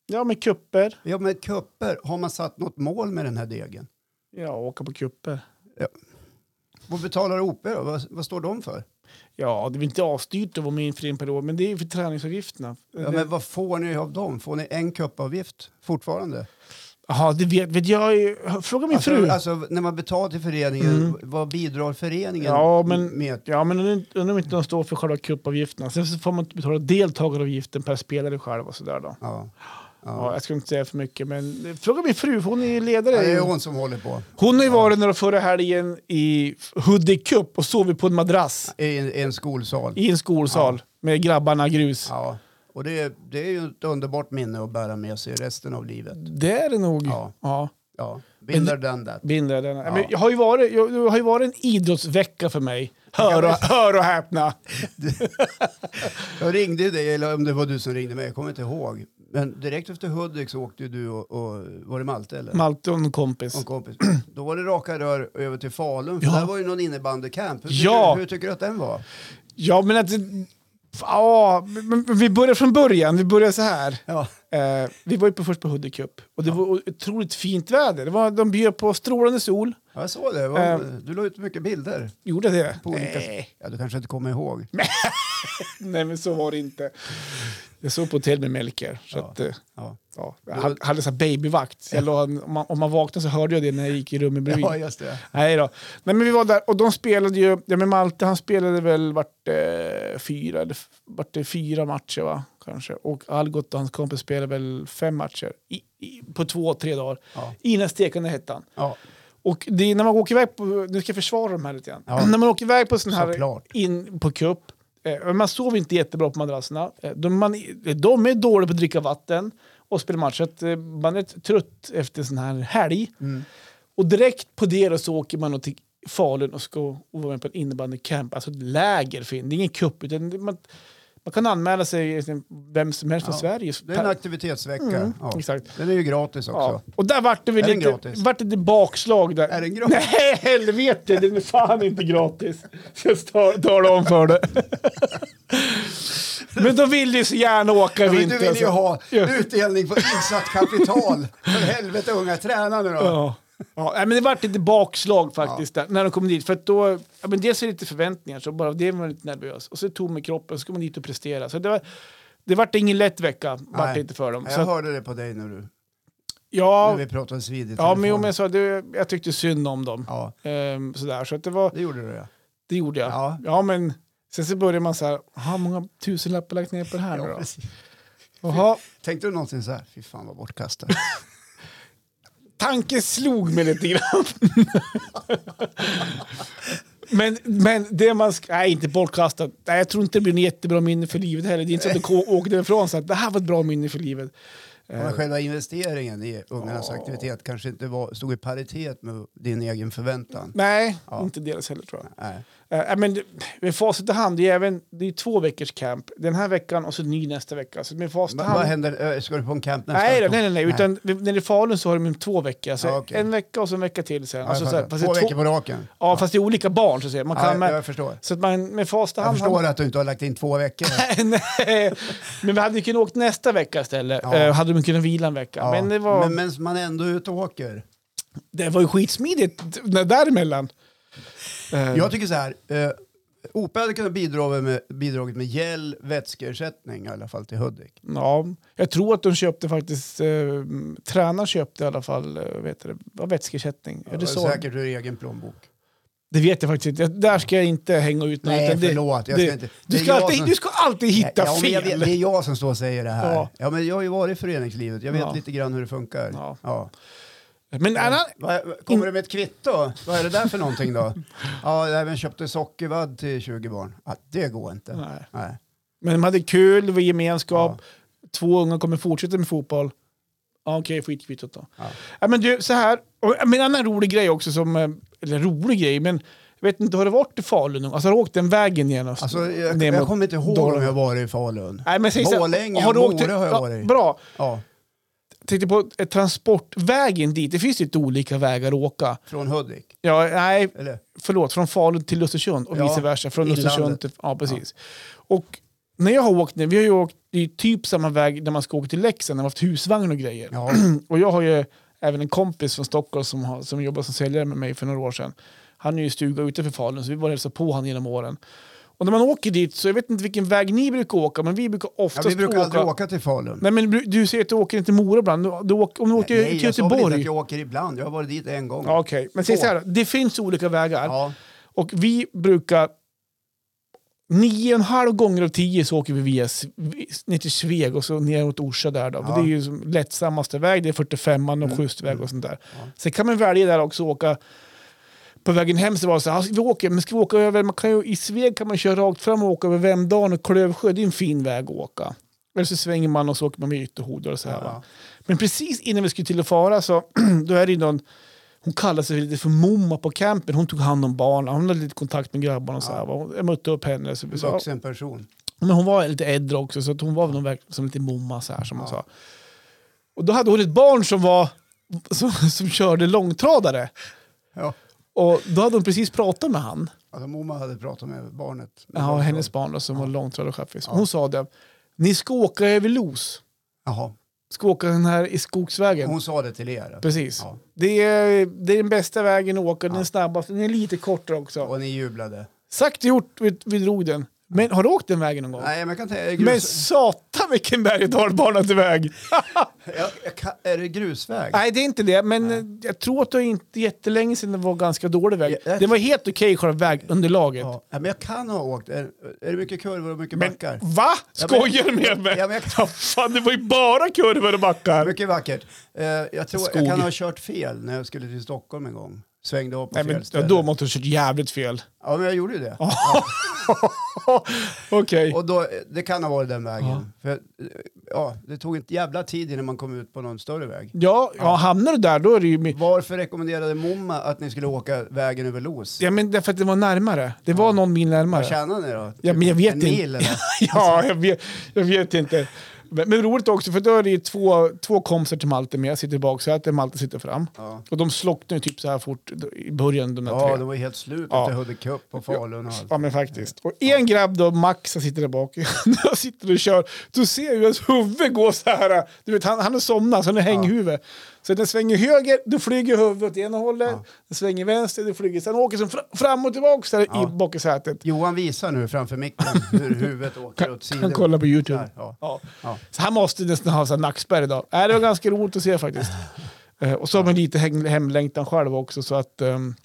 Ja, med kupper.
Ja men kupper, har man satt något mål med den här degen?
Ja, åka på kupper.
Vad betalar OP då? Vad, vad står de för?
Ja, det är väl inte avstyrt att vara med inför en period, men det är ju för träningsavgifterna.
Ja, men vad får ni av dem? Får ni en kuppavgift fortfarande?
Jaha, det vet, vet jag. ju- Fråga min
alltså,
fru. Mm.
Alltså när man betalar till föreningen, vad bidrar föreningen
Ja, men-
med?
Ja, men undrar undrar om inte de står för själva cupavgifterna. Sen så får man betala deltagaravgiften per spelare själv och sådär då.
Ja.
Ja, jag ska inte säga för mycket, men fråga min fru, för hon är ju ledare.
Ja, det är hon som håller på.
Hon har ju varit några förra helgen i Hudik Cup och sovit på en madrass
I en, i en skolsal.
i en skolsal med grabbarna grus.
Ja. Och det, är- det är ju ett underbart minne att bära med sig resten av livet.
Det är det nog.
Ja.
Ja.
Ja. Binder den där.
Binder den. Ja.
Ja.
Men jag har ju varit, jag, det har ju varit en idrottsvecka för mig. Hör och, hör och häpna.
Jag ringde ju dig, eller om det var du som ringde mig, jag kommer inte ihåg. Men direkt efter Hudik så åkte ju du och, och var det Malte eller?
Malte och en kompis.
Och en kompis. Då var det raka rör över till Falun, för
Ja.
där var ju någon innebandycamp. Hur, tycker
Ja.
du- hur tycker du att den var?
Ja, men att... Ja, men- men vi börjar från början. Vi börjar så här.
Ja.
Eh, vi var ju på, först på Hudik Cup och det var otroligt fint väder. Det var, de bjöd på strålande sol.
Jag såg det. Vad-
Eh.
Du la ut mycket bilder.
Gjorde det?
På olika...
Nej.
Ja, du kanske inte kommer ihåg.
Nej, men så var det inte. Jag sov på hotell med Melker. Så att, eh,
Ja,
ja. Jag hade- hade så här babyvakt. Så jag la, en- om, man, om man vaknade så hörde jag det när jag gick i rummet bredvid.
ja just det.
Nej då. Nej, men vi var där och de spelade ju, ja men Malte han spelade väl vart eh, fyra, eller f- vart det fyra matcher va? Kanske. Och Algot och hans kompis spelade väl fem matcher i, i, på två, tre dagar.
Ja.
I den stekande hettan.
Ja.
Och det är när man åker iväg på, nu ska jag försvara de här lite grann.
Ja.
När man åker iväg på sån här,
Såklart.
in på cup, eh, man sover inte jättebra på madrasserna. Eh, de, man, de är dåliga på att dricka vatten och spela match. Så att, eh, man är trött efter sån här helg.
Mm.
Och direkt på det då så åker man då till Falun och ska och vara med på en innebandycamp, alltså ett läger. För, det är ingen cup, utan det- man, man kan anmäla sig, liksom, vem som helst från
Ja.
Sverige.
Det är en aktivitetsvecka. ja.
Mm, exakt.
Den är ju gratis
Ja.
också.
Och där vart det väl
Är den
lite,
gratis?
vart det lite bakslag där.
Är den gratis?
Nej, helvete! Den är fan inte gratis. Ska jag ta- tala om för dig. Men då vill du så gärna åka i
Ja. Men
vinter.
du vill ju
alltså.
ha
Ja.
utdelning på insatt kapital. För helvete unga, träna nu då.
Ja. Ja, nej, men det vart lite bakslag faktiskt där, när de kom dit. För att då, ja, men dels är det lite förväntningar, så bara av det var man lite nervös. Och så tom i kroppen, så ska man dit och prestera. Så det, var, det vart ingen lätt vecka, vart
Nej.
det inte för dem.
Jag
Så, att-
hörde det på dig när, du,
ja,
när vi pratades vid i
ja,
telefon.
men jo, men jag sa, det, jag tyckte synd om dem.
ja,
Ehm, sådär, så att det var...
det gjorde du ja.
Det gjorde jag.
Ja.
Ja, men sen så börjar man så här, "Jaha, hur många tusenlappar lagt ner på det här nu
ja
då?
precis.
Jaha,
Tänkte du någonsin så här, fy fan vad bortkastat.
tanken slog mig lite grann. men, men det man ska, nej inte bortkastat, nej, jag tror inte det blir en jättebra minne för livet heller. Det är inte så att du ko- åker därifrån så att det här var ett bra minne för livet.
Men själva investeringen i ungarnas
Eh. Ja.
aktivitet kanske inte var, stod i paritet med din egen förväntan.
Nej,
Ja.
inte deras heller tror jag.
Nej.
Eh, nej, men det- med facit i hand, det är, även, det är två veckors camp. Den här veckan och så ny nästa vecka. Så med facit i
Men
hand.
vad händer, eh, ska du på en camp nästa
Nej, då,
vecka?
nej, nej, nej. Utan vi- när det är Falun så har de två veckor. Alltså
Ja, Ah, okej.
En vecka och så en vecka till sen.
Ja,
Alltså,
jag
så här,
fattar.
fast det
Två
är
veckor på raken?
Ja, fast det är olika barn så att säga. Man kan
Ja, jag,
med,
jag förstår.
så att man med fasta
Jag
hand...
förstår att du inte har lagt in två veckor.
Nej, men vi hade ju kunnat åkt nästa vecka istället.
Ja.
Eh, hade de kunnat vila en vecka.
Ja.
Men det var... Mm.
men, men man är ändå ute och åker.
Det var ju skitsmidigt när- däremellan. Eh,
Jag tycker så här. Eh, OP hade kunnat bidra med, bidragit med gel, vätskeersättning i alla fall till Hudik.
Ja, jag tror att de köpte faktiskt, eh, tränaren köpte i alla fall eh, vad heter det, vad vätskeersättning. Ja,
Det
det,
var
så.
säkert ur egen plånbok.
det vet jag faktiskt inte. Jag- Där ska jag inte hänga ut någon,
Nej,
utan det,
förlåt, jag ska
det,
inte-
Du
det är
ska,
jag
alltid,
som-
du ska alltid hitta
ja, men
fel.
jag vet, det är jag som står och säger det här.
Ja.
Ja. men jag har ju varit i föreningslivet. Jag vet
Ja.
lite grann hur det funkar.
Ja.
Ja.
Men annan,
Vad- Kommer du med ett kvitto? Vad är det där för någonting då? ja, jag även köpte sockervadd till 20 barn. Ja, det går inte. Nej.
nej. Men de hade kul, det var gemenskap. Två unga kommer fortsätta med fotboll. Ja, Okej, skit i kvittot då. Ja.
Ja.
men du, så här. Och, men en annan rolig grej också, som, eh, eller rolig grej, men jag vet inte, har du varit i Falun? Alltså har du åkt den vägen igenom?
Alltså, jag,
ner
jag
mot
kommer inte ihåg
Dalarna?
om jag varit i Falun.
Nej, men säg så här,
Borlänge,
har du åkt-
Mora har jag
ja,
varit.
Bra.
Ja,
Tänkte på eh, transportvägen dit. Det finns lite olika vägar att åka.
från Hudik.
Ja, nej,
Eller?
förlåt, från Falun till Östersund och
Ja,
vice versa. Från
inlandet.
Östersund till, ja, precis. Och när jag har åkt, nu- vi har ju åkt i typ samma väg när man ska åka till Leksand, när man har haft husvagn och grejer.
Ja.
Och jag har ju även en kompis från Stockholm som, har, som jobbar som säljare med mig för några år sedan. Han är ju i stuga utanför Falun, så vi var och hälsade på honom genom åren. Och när man åker dit, så jag vet inte vilken väg ni brukar åka, men vi brukar
Ja,
oftast
vi brukar aldrig
åka...
åka till Falun.
Nej, men du- du säger att du åker inte till Mora ibland. Du, du åker, om du åker
Nej,
till
jag sa väl inte
Göteborg...
att jag åker ibland. Jag har varit dit en gång.
Ja, Okej, men säg
Så.
så här, det finns olika vägar.
Ja.
Och vi brukar... Nio och en halv gånger av tio så åker vi via, S- ner till Sveg och så ner mot Orsa där. Då.
Ja. Mm.
Det är ju som lättsammaste väg, det är 45 och skjutsväg och sånt där.
Ja.
Sen kan man välja där också och åka... På vägen hem så var det så här, "Ah, vi åker, men ska vi åka över, man kan ju, i Sveg kan man köra rakt fram och åka över Vemdalen och Klövsjö, det är en fin väg att åka. Eller så svänger man och så åker man via Ytterhogdal och så här. Va?
Ja.
Men precis innan vi skulle till att fara så då är det ju någon, hon kallade sig lite för momma på campen. Hon tog hand om barnen, hon hade lite kontakt med grabbarna och så här. va. Hon- Jag mötte upp henne. Så vi sa,
Vuxen person.
men hon var lite äldre också så att hon var väl någon verk- som lite momma så här som hon sa. Och då hade hon ett barn som var som, som körde långtradare.
Ja.
Och då hade hon precis pratat med han.
Alltså, Moma hade pratat med barnet.
Ja, hennes barn då, som var långtradarchaufför. Hon sa det, ni ska åka över Los.
Jaha.
Ska åka den här i skogsvägen.
Hon sa det till er. alltså.
Precis.
Ja.
Det, är, det är den bästa vägen att åka, den snabbaste, den är lite kortare också.
Och ni jublade.
Sagt och gjort, vi, vi drog den. Men har du åkt den vägen någon gång?
Nej, men jag kan tänka
Men
grus...
satan vilken berg och dalbana till väg!
jag, jag kan... Är det grusväg?
Nej det är inte det, men eh, jag tror att det är inte jättelänge sedan det var ganska dålig väg.
Ja, jag-
Det var helt okej själva vägunderlaget.
Ja. ja, men jag kan ha åkt. Är, är det mycket kurvor och mycket
Men
backar?
va?
Ja, men-
Skojar du med mig?
Ja, men jag kan-
Ja, Fan, det var ju bara kurvor och backar.
Mycket vackert. Eh, jag tror
Skog.
jag kan ha kört fel när jag skulle till Stockholm en gång. Svängde av på
Nej,
fel
men, ja,
ställe.
då måste du ha kört jävligt fel.
Ja, men jag gjorde ju det.
Okej.
Och då, eh, det kan ha varit den vägen. För, eh, ja, det tog ett jävla tid innan man kom ut på någon större väg.
Ja, ja, hamnar du där då är det ju... mi-
Varför rekommenderade Momma att ni skulle åka vägen över Los?
Ja, men därför att det var närmare. Det var någon mil närmare.
Vad tjänade ni då?
Ja, men jag vet
en
inte.
mil eller?
ja, jag vet, jag vet inte. Men, men roligt också, för då är det ju två, två kompisar till Malte med. Jag sitter i baksätet, Malte sitter fram.
Ja.
Och de slocknar ju typ så här fort i början, de där
Ja,
tre.
de var ju helt slut
Ja.
efter Hudik Cup och Falun och allt.
Ja, men faktiskt. Och en grabb då, Max, han sitter där bak. När jag sitter och kör, då ser jag hur hans huvud går så här. Du vet, han, han har somnat, så han är hänghuvud. Så den svänger höger, då flyger huvudet åt ena hållet. Den svänger vänster, det flyger. Sen åker den fr- fram och tillbaka där i, bak i sätet.
Johan visar nu framför micken hur huvudet åker åt
Kan,
sidan.
kan kolla på YouTube.
Där, ja.
Ja.
Ja.
Så han måste nästan ha så här nackspärr idag. Äh, det var ganska roligt att se faktiskt. Eh, och så har man lite häng, hemlängtan själv också så att... ehm,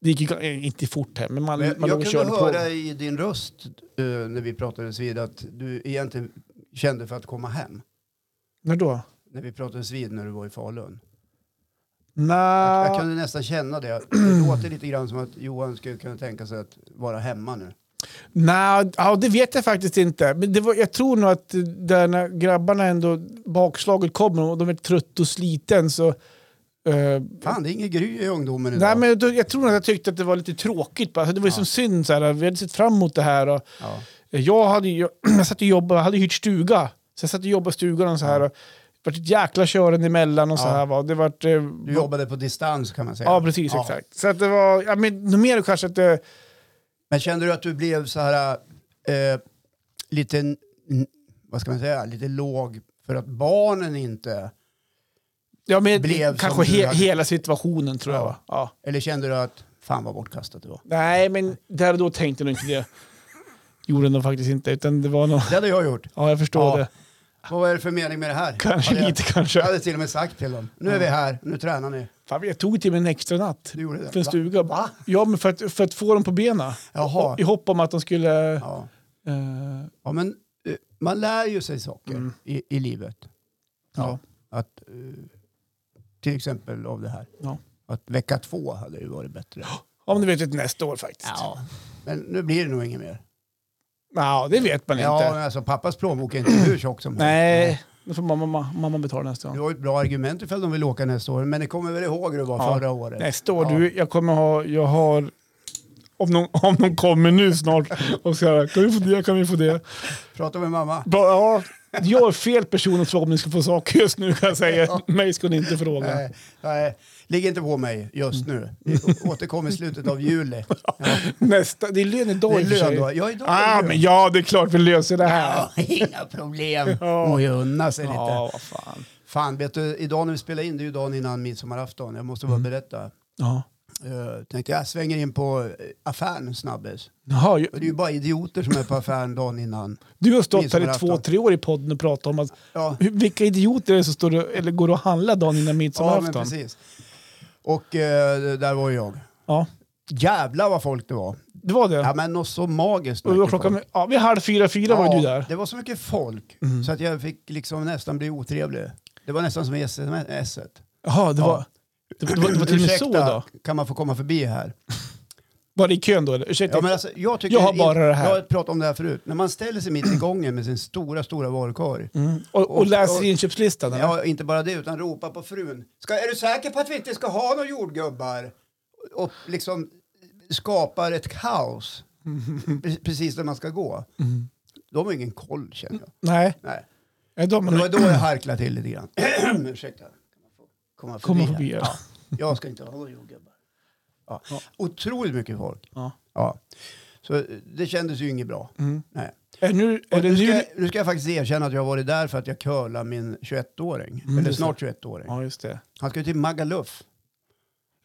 det gick ju ga- eh, inte fort hem, men man,
Men
man låg
jag
och
kunde
körde på.
höra i din röst eh, när vi pratades vid att du egentligen kände för att komma hem.
När då?
När vi pratades vid när du var i Falun. Jag, jag
Nej.
kunde nästan känna det. Det låter lite grann som att Johan skulle kunna tänka sig att vara hemma nu.
Nej, ja, det vet jag faktiskt inte. Men det var, jag tror nog att eh, där när grabbarna ändå, bakslaget kommer och de är trötta och sliten så... eh,
Fan, det är ingen gry i ungdomen idag.
Nej, men jag, jag tror att jag tyckte att det var lite tråkigt. bara. Alltså, det var ju som synd. Så här, vi hade sett fram emot det här. Och
ja.
jag, hade, ju- jag satt och jobbade, jag hade hyrt stuga. Så jag satt och jobbade i stugan och så här. Och, det vart ett jäkla kören emellan och så
Ja.
här. Va. Det vart, eh,
Du jobbade på distans kan man säga.
Ja, precis.
Ja.
Exakt. Så att det var... Ja, men, nog mer kanske att det...
Men kände du att du blev så här eh, lite, n- vad ska man säga, lite låg för att barnen inte
Ja, men
Blev
kanske
som du
he-
hade-
hela situationen tror jag.
Ja.
Va? Ja.
Eller kände du att fan vad bortkastat det var?
Nej, men där och då tänkte jag nog inte det. Gjorde nog faktiskt inte, utan det var nog...
Det hade jag gjort.
Ja, jag förstår
Ja.
det.
Vad är det för mening med det här?
Kanske
hade jag,
lite
jag
kanske.
hade till och med sagt till dem. Nu är vi här, nu tränar ni.
Fan, jag tog till mig en extra natt.
Du gjorde det?
För en
Va?
stuga. Ja, men för att, för att få dem på benen.
Jaha.
I hopp om att de skulle...
Ja.
eh,
Ja, men eh, man lär ju sig saker i, i livet.
Mm. Ja.
Att, eh, till exempel av det här.
Ja.
Att vecka två hade ju varit bättre.
om du vet ett nästa år faktiskt.
Ja. Men nu blir det nog inget mer.
Ja, det vet man
Ja,
inte.
men alltså, pappas plånbok är inte hur tjock som helst.
Nej, då får mamma, mamma, mamma betala nästa
Det
år.
var ju ett bra argument ifall de vill åka nästa år. Men ni kommer väl ihåg hur det var
Ja.
förra året?
Nästa år,
Ja.
du, jag kommer ha, jag har, om någon, om någon kommer nu snart och säger kan vi få det, kan vi få det.
Prata med mamma.
Bara, ja, jag är fel person att fråga om ni ska få saker just nu kan jag säga. Mig ska ni inte fråga.
Nej, nej, ligg Eh, inte på mig just nu. Vi å-
Mm.
återkom i slutet av juli. Ja,
Nästa, det är
det
lönedag
är
i och för
lön
sig.
då. Ja, idag
Ah,
är det
men
lön.
ja, det är klart vi löser det här.
Ja, inga problem.
Ja.
Må ju unna sig lite.
Ja, vad fan.
Fan, vet du, idag när vi spelar in, det är ju dagen innan midsommarafton. Jag måste bara
Mm.
berätta.
Ja.
Uh, tänkte jag svänger in på eh, affären snabbis.
Jaha, ju-
Och det är ju bara idioter som är på affären dagen innan.
du har stått här i
Midsommarafton.
två, tre år i podden och pratat om att
Ja,
hur- vilka idioter är det som står och, eller går och handlar dagen innan
ja men
midsommarafton.
precis. Och eh, där var ju jag.
Ja,
Jävlar vad folk det var.
det var det.
Ja men något så magiskt.
och det var
mycket
klockan,
folk.
ja, vid halv fyra, fyra var du där. Mm.
det var så mycket folk så att jag fick liksom nästan bli otrevlig. Det var nästan som i sms-et.
Jaha, det,
Ja.
var, det, var- det, var, det var till och med så då?
kan man få komma förbi här?
Var det i kön då? Eller? Ursäkta,
Ja, men alltså, jag, tycker
Jag har bara det här.
Jag har pratat om det här förut. När man ställer sig mitt i gången med sin stora, stora varukorg.
mm. och, och,
och-
läser
och-
inköpslistan? eller?
Ja, inte bara det, utan ropar på frun. Ska, är du säker på att vi inte ska ha några jordgubbar? Och liksom skapar ett kaos
Mm.
Pre- precis där man ska gå. De har ingen koll känner jag.
Nej,
Nej.
är de
Och det var då jag harklade till lite grann. Ursäkta. Kan man få komma förbi, här?
kommer förbi. Ja.
Jag ska inte ha några jordgubbar. Ja.
Ja.
Otroligt mycket folk.
Ja.
Ja. Så eh, det kändes ju inget bra.
Mm.
Nej.
Är, nu, är
Och nu,
det nu?
ska jag, nu ska jag faktiskt erkänna att jag har varit där för att jag curlar min 21-åring. Eller
Mm, just
snart 21-åring.
Ja, just det.
Han ska ju till Magaluf.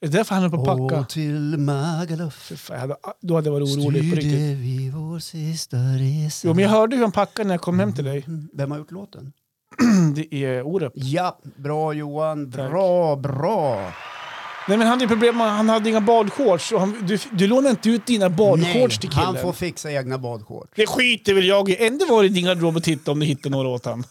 Är det därför han höll på att packa?
Och till Magaluf
Fy fan, jag hade, då hade jag varit orolig på riktigt.
styrde vi vår sista resa.
Jo, men jag hörde hur han packade när jag kom hem till dig.
Mm. Vem har gjort låten? Mm.
Det är Orup.
Ja, bra Johan.
Tack.
Bra, bra.
Nej, men han hade ju problem. med- Han hade inga badshorts. och Han, du, du lånade inte ut dina badshorts till killen.
han får fixa egna badshorts.
Det skiter väl jag i. Ändå var det i din garderob och titta om du hittar några åt han.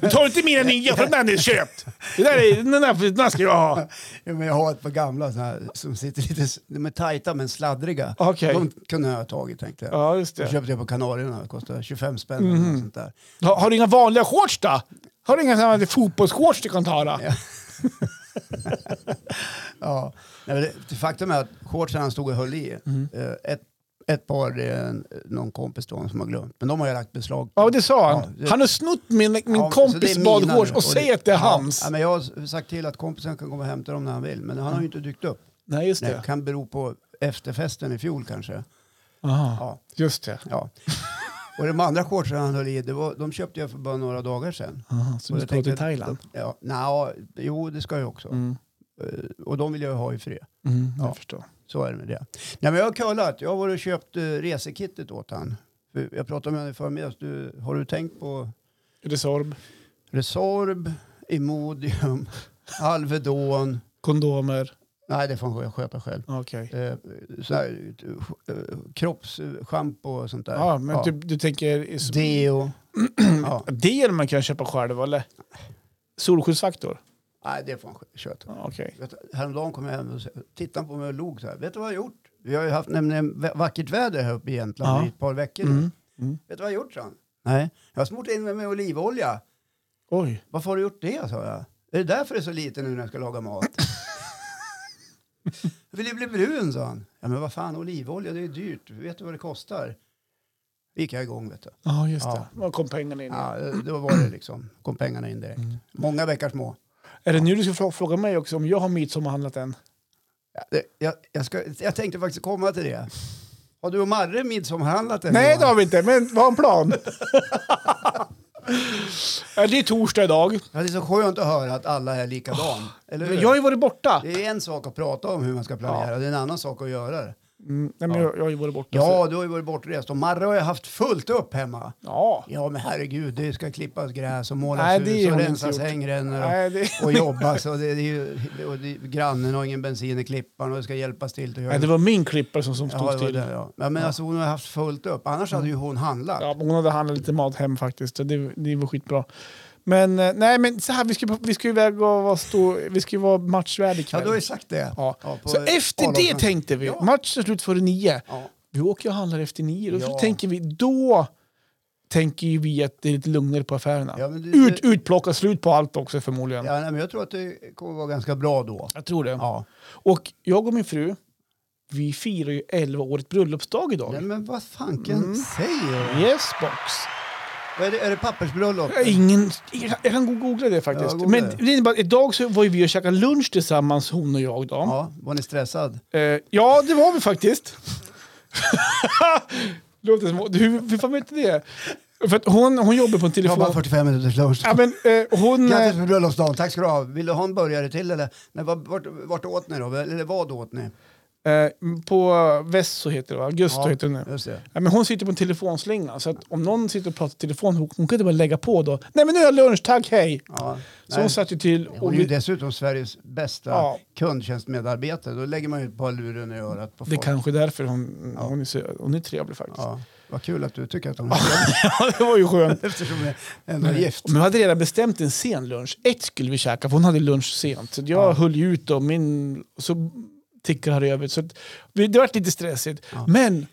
Du tar inte mina nya för den är köpt. Det där är, den, där, den där ska jag ha.
Ja, men jag har ett par gamla så här, som sitter lite... s- De är tajta men sladdriga.
Okej.
De kunde jag ha tagit tänkte jag.
Ja, just
De
det. Mhm.
köpte jag på Kanarierna. Det kostade 25 spänn eller något sånt där.
Har, har du inga vanliga shorts då? Har du inga såna här fotbollsshorts du kan ta då?
Ja. Ja. Nej, men det, faktum är att shortsen han stod och höll i,
Mhm.
eh, ett, ett par det är en, någon kompis till honom som har glömt. Men de har jag lagt beslag på.
Ja, det sa han.
Ja, det-
Han har snott min, min
Ja, så det är
kompis
mina nu.
badshorts och säger att det är
Ja,
hans.
ja, men jag har sagt till att kompisen kan komma och hämta dem när han vill, men han har
Mm.
ju inte dykt upp.
Nej, just
Det
det.
kan bero på efterfesten i fjol kanske.
Aha,
Ja,
just det.
ja. och de andra shortsen han höll i, det var, de köpte jag för bara några dagar sedan.
Aha, så
Och
du
jag
ska
tänkte
gå till
att-
Thailand?
Ja, nja, jo, det ska jag också.
Mm.
Eh, Och de vill jag ju ha i fred.
Mm,
Ja.
jag förstår.
Så är det med det. Nej, men jag har kollat. Jag har varit och köpt eh, resekittet åt han. För Jag pratade med honom i förmiddags. Du, har du tänkt på
Resorb,
Resorb, Imodium, Alvedon?
kondomer.
Nej, det får han sköta själv.
Okej.
Eh, så här, eh, kroppsschampo och sånt där.
Ja, men Typ, du tänker...
Deo. ja.
Det är det man kan köpa själv, eller? Solskyddsfaktor?
Nej, det får han sköta. själv.
Ja, Okej.
Vet du, Häromdagen kom jag hem och så- tittade han på mig och log så här. Vet du vad jag har gjort? Vi har ju haft nämligen vä- vackert väder här uppe i Jämtland
Ja.
i ett par veckor nu.
Mm. Mm.
Vet du vad jag har gjort, sa han? Nej. Jag har smort in mig med olivolja.
Oj.
Varför har du gjort det, sa jag. Är det därför det är så lite nu när jag ska laga mat? jag vill ju bli brun, sa han. Ja, men vad fan, olivolja, det är dyrt. Vet du vad det kostar? gick jag igång, vet du.
Ja, just
Ja.
det. Då kom pengarna in.
Ja, då var det liksom, kom pengarna in direkt.
Mm.
Många bäckar små.
Är det nu du ska fråga, fråga mig också om jag har midsommarhandlat än?
Ja, det- Eh, Jag, jag, ska, jag tänkte faktiskt komma till det. Har du och Marre midsommarhandlat än?
Nej,
Johan?
det har vi inte, men vi har en plan. Ja, det är torsdag idag.
Ja, det är så skönt att höra att alla är likadan. Eller hur?
Jag har ju varit borta.
Det är en sak att prata om hur man ska planera, det är en annan sak att göra det.
Mm, nej, men jag, jag har ju varit borta. så-
Ja, du har ju varit bortrest och Marre har ju haft fullt upp hemma.
ja.
Ja, men herregud, det ska klippas gräs och målas
Nej, det har
hus och
hon inte
rensas
gjort.
hängrännor
Nej, det,
och, och jobbas. Och det, det är ju, och det, grannen har ingen bensin i klippan och det ska hjälpas till. Att göra
nej, det var min klippare som, som stod
ja, det var
still.
det, ja. ja, men alltså hon har haft fullt upp. Annars hade ju hon handlat.
Ja, men hon hade handlat lite mat hem faktiskt. så Det, det var skitbra. Men eh, nej, men så här, vi ska, vi ska iväg och vara, stå, vi ska ju vara matchvärd
Ja,
ikväll.
du har ju sagt det.
Ja.
på
så efter det
Arlanda.
tänkte vi,
Ja.
matchen är slut före nio.
Ja.
Vi åker och handlar efter nio. Då
Ja.
tänker vi, då tänker ju vi att det är lite lugnare på affärerna.
Ja, men du-
Ut, utplocka slut på allt också förmodligen.
Ja, nej, men jag tror att det kommer vara ganska bra då.
Jag tror det.
Ja.
Och jag och min fru, vi firar ju 11-årigt bröllopsdag idag.
Nej, men vad fanken
Mm.
säger du?
Yes box.
Vad Är det, är det pappersbröllop?
Jag har Ingen, jag kan googla det faktiskt.
Ja, googla
Men
det.
det innebär, att idag så var ju vi och käkade lunch tillsammans, hon och jag. Då. Ja.
Ja, var ni stressad?
Eh, ja, det var vi faktiskt. Låter som, hur, hur fan vet du det? För att hon, hon jobbar på en
Det var bara
telefon...
45 minuters lunch.
Ja, men, eh, hon, eh,
Grattis på bröllopsdagen, tack ska du ha. Vill du ha en burgare till eller? Nej, vart, vart, vart åt ni då? Eller vad åt ni?
eh, på Vesso heter det va? Gusto
Ja,
heter hon nu.
Just det.
Ja, men hon sitter på en telefonslinga, så att om någon sitter och pratar i telefon, hon hon kan inte bara lägga på då. Nej men nu är jag lunch, tack, hej!
Ja.
Så hon
Nej.
satt ju till och
Hon är ju
vi,
dessutom Sveriges bästa
Ja.
kundtjänstmedarbetare. Då lägger man ju ett par luren i örat på
det
folk.
kanske är därför hon, hon, är, så- hon är trevlig faktiskt. Ja.
Ja. Vad kul att du tycker att hon är skön
det var ju skönt.
eftersom hon är ändå är gift.
Men vi hade redan bestämt en sen lunch. Ett skulle vi käka, för hon hade lunch sent. Så jag
Ja.
höll ju ut och min, och så tickade här över. Så att, vi- det var lite stressigt.
Ja.
Men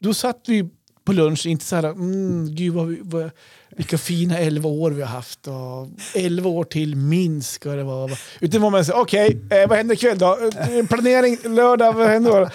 då satt vi på lunch, inte så här, mm, gud vad vi, vad, vilka fina 11 år vi har haft. Och 11 år till minst ska det vara. Utan var man säger, okej, eh, vad händer ikväll då? Eh, Planering lördag, vad händer då?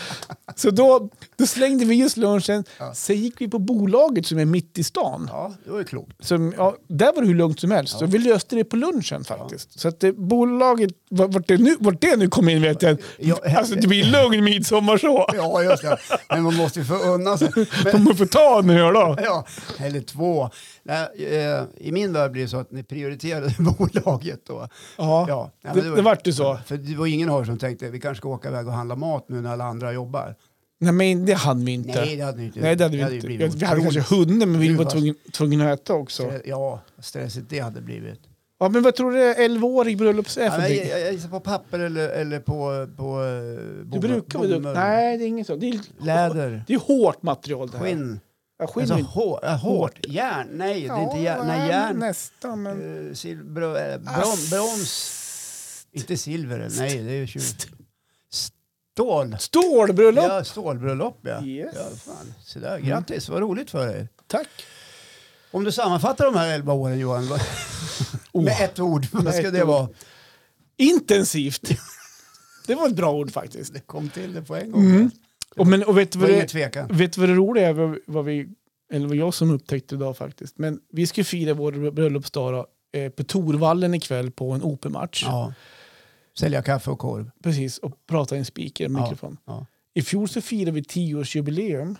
Så då, då slängde vi just lunchen,
Ja.
sen gick vi på bolaget som är mitt i stan.
Ja, det var ju klokt.
Så, ja, där var det hur lugnt som helst. Så vi löste det på lunchen faktiskt. Så att det, bolaget, vart vart det, nu, vart det nu kom in vet jag inte.
Ja,
Alltså det blir lugn midsommar så.
Ja, just det. Men man måste ju få unna sig. Men,
De får ta en öl då.
ja, eller två. Nej, eh, I min värld blir det så att ni prioriterade bolaget då.
Ja,
Ja, ja, men
det,
det
det,
var-
vart ju så.
För det var ingen av er som tänkte vi kanske ska åka iväg och handla mat nu när alla andra jobbar.
Nej men det hann vi inte.
Nej, det hade ni inte.
Nej, det hade vi
ju
inte. Vi
blivit
hade, kanske hunnit men vi
Gud,
var
vad-
tvungna, tvungna att äta också.
otroligt- Ja, stressigt det hade blivit.
Ja, men vad tror du 11-årig bröllops är
Ja,
för
men jag,
någonting?
jag, jag gissar på papper eller, eller på, på eh,
Du
bomull-
brukar vara duktig.
bomull.
Nej, det är inget så. Det är,
Läder,
det är hårt material det här.
skinn.
Ja, skinn.
Alltså,
är inte-
hår, äh, hårt, järn. Nej, det är inte järn. Nej, järn.
Nästan, men...
Eh, sil- bro, eh, brom, broms. Inte silver. eller? Nej, det är ju tjuv- Stål.
Stålbröllop!
Ja, stålbröllop ja.
Yes. Mm.
ja fan. Så där, grattis, vad roligt för dig.
Tack.
Om du sammanfattar de här 11 åren Johan, vad- med ett ord, vad
med
ska
ett
det
ord.
vara?
Intensivt. Det var ett bra ord faktiskt.
Kom till det på en gång.
Mm. Och, men, och vet,
Det
du
var
vad
ingen
det,
tvekan.
vet du vad det roliga är? Vad, vad vi, eller vad jag som upptäckte idag faktiskt. Men vi ska fira vår bröllopsdag då, eh, på Torvallen ikväll på en OP-match.
Ja. Sälja kaffe och korv.
Precis, och prata i en speaker, en
Ja.
mikrofon.
Ja.
I fjol så firade vi tioårsjubileum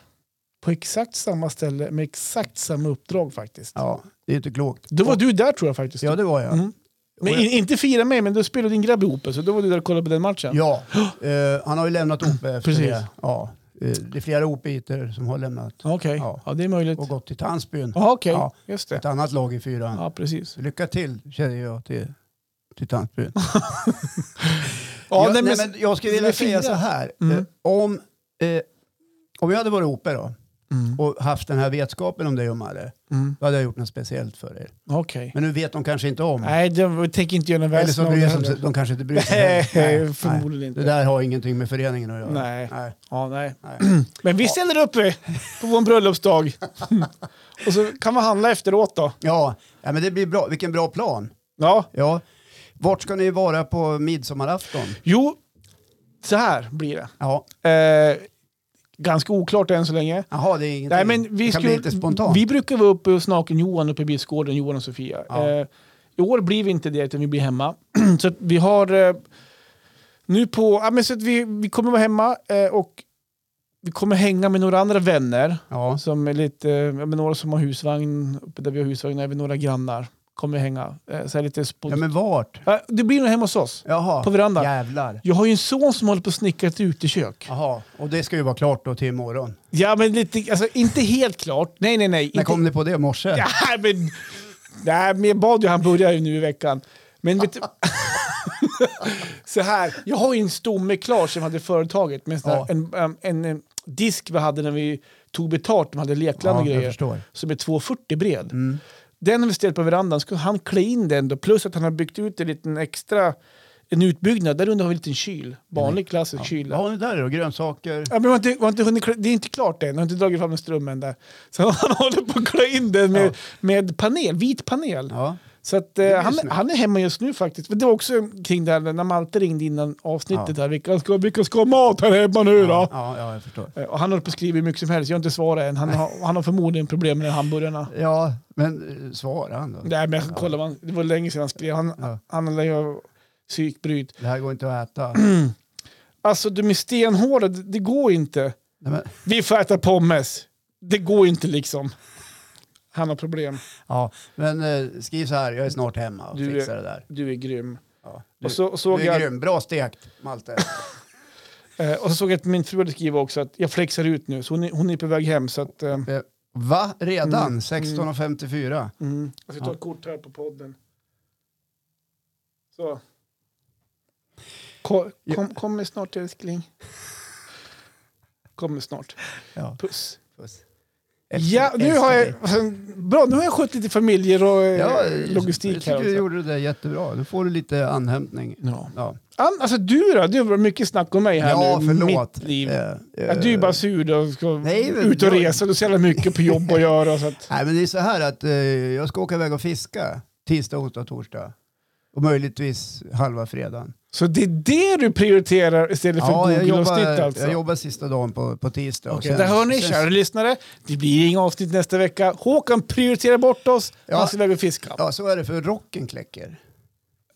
på exakt samma ställe med exakt samma uppdrag faktiskt.
ja, det är inte klokt.
Då var du där tror jag faktiskt.
Ja, det var jag.
Mm. Men in, inte fira mig, men då spelade din grabb ihop så då var du där och kollade på den matchen.
Ja, eh, han har ju lämnat OP efter
Precis.
det. Ja. Eh, det är flera op som har lämnat
Okej,
Ja.
ja. det är möjligt.
och gått till Tandsbyn.
Ja, okej.
Ja.
Just
Ett
det.
annat lag i fyran.
Ja, precis.
Lycka till, känner jag till, till Tandsbyn.
Ja,
jag,
nej, men,
jag skulle vilja
vi
säga
firar.
så här.
Mm.
Eh, om, eh, om jag hade varit OP då
Mm,
och haft den här vetskapen om dig och Malle,
mm,
då hade jag gjort något speciellt för er.
Okej.
Men nu vet de kanske inte om.
Nej, det, vi tänker inte göra något
Eller
väsen
så
av
bryr
det
sig,
heller.
de kanske inte bryr sig.
Nej,
Nej, nej.
förmodligen
Det
inte.
där har ingenting med föreningen att göra.
Nej.
Nej.
Ja, nej.
Nej.
Men vi ställer upp eh, på vår bröllopsdag. och så kan vi handla efteråt då.
Ja, ja, men det blir bra. Vilken bra plan.
Ja,
Ja. Vart ska ni vara på midsommarafton?
jo, så här blir det.
Ja,
Eh, ganska oklart än så länge.
Jaha, det är ingenting.
Nej, men vi,
det kan
skulle,
bli lite spontant.
vi brukar vara uppe hos Naken-Johan uppe i Bispgården, Johan och Sofia.
Ja.
Eh, I år blir vi inte det, utan vi blir hemma. så att vi har... Eh, nu på... Ja, men så att vi, vi kommer vara hemma eh, och vi kommer hänga med några andra vänner.
Ja.
Som är lite, eh, ja, men några som har husvagn, uppe där vi har husvagn, även några grannar. Kommer hänga. Eh, Så här lite spod-
ja, men vart?
Eh, Det blir nog hemma hos oss.
Jaha.
På verandan.
Jävlar.
Jag har ju en son som håller på att snickra ett utekök.
Jaha, och det ska ju vara klart då till imorgon.
Ja, men lite, alltså, inte helt klart. Nej, nej, nej.
När
inte,
kom ni på det? i Morse?
Ja, men, nej, men jag bad ju, han börjar ju nu i veckan. Men vet du, så här, jag har ju en stomme klar som jag hade företaget med en, sån här-
Ja.
en, en, en, eh, disk vi hade när vi tog betalt, de hade lekland
Ja,
och
jag
grejer,
förstår. Mm.
som är 2,40 bred. Den har vi ställt på verandan, skulle han klä in den då, plus att han har byggt ut en liten extra, en utbyggnad, där under har vi en liten kyl,
Mm.
vanlig klassisk kyl.
Vad har ni där då? Grönsaker?
Ja, men man har inte, man har inte hunnit, klä- det är inte klart än, jag har inte dragit fram en ström än där. Så han håller på att klä in den med,
Ja.
med panel, vit panel.
Ja.
Så att,
är
eh, han,
snyggt.
han är hemma just nu faktiskt. Men det var också kring det här när Malte ringde innan avsnittet. Här, vilka, ska, vilka ska ha mat här hemma nu då?
Ja, ja, jag förstår.
Eh, Och han håller på att skriva hur mycket som helst, jag har inte svarat än. Han har, han har förmodligen problem med hamburgarna.
Ja, men eh, svara han då.
Nej men jag ska kolla, vad han- det var länge sedan han skrev. Han,
Ja.
han lär ju ha psykbryt.
Det här går inte att äta.
Mm. Alltså de är stenhårda, det, det går inte.
Nej, men,
Vi får äta pommes. Det går inte liksom. Han har problem.
ja, men eh, skriv så här, jag är snart hemma och
Du är-
fixar det där.
Du är grym.
Ja. Du,
Och så, och såg
du är
jag,
grym, bra stekt Malte.
eh, och så såg jag att min fru hade skrivit också att jag flexar ut nu, så hon är, hon är på väg hem. Så att, eh,
Eh, Va? Redan?
Mm.
16.54?
mm. Jag ska ta
Ja.
ett kort här på podden. Så. Ko-
Ja.
Kom, kommer snart älskling. Kommer snart.
Ja.
Puss.
Puss.
Ja, nu har jag, bra, nu har jag skött lite familjer och eh,
Ja, jag
logistik här
tycker du
också.
gjorde det där jättebra. Nu får du lite anhämtning.
Ja.
Ja,
Ann, alltså du då? Det var mycket snack om mig här
ja
nu.
förlåt.
Mitt liv.
Eh,
Ja,
eh,
du är bara sur och ska
Nej, men
ut och
jag-
resa. Du har så jävla mycket på jobb att göra. Så att,
Nej, men det är så här att eh, jag ska åka iväg och fiska tisdag, onsdag, torsdag. Och möjligtvis halva fredagen.
så det är det du prioriterar istället för
jag
Google-avsnitt
jobbar,
alltså?
jag jobbar sista dagen på, på tisdag. och
Okej,
sen-
där hör ni,
sen-
kära lyssnare. Det blir inga avsnitt nästa vecka. Håkan prioriterar bort oss.
Ja.
Han ska iväg och fiska.
Ja, så är det för rocken kläcker.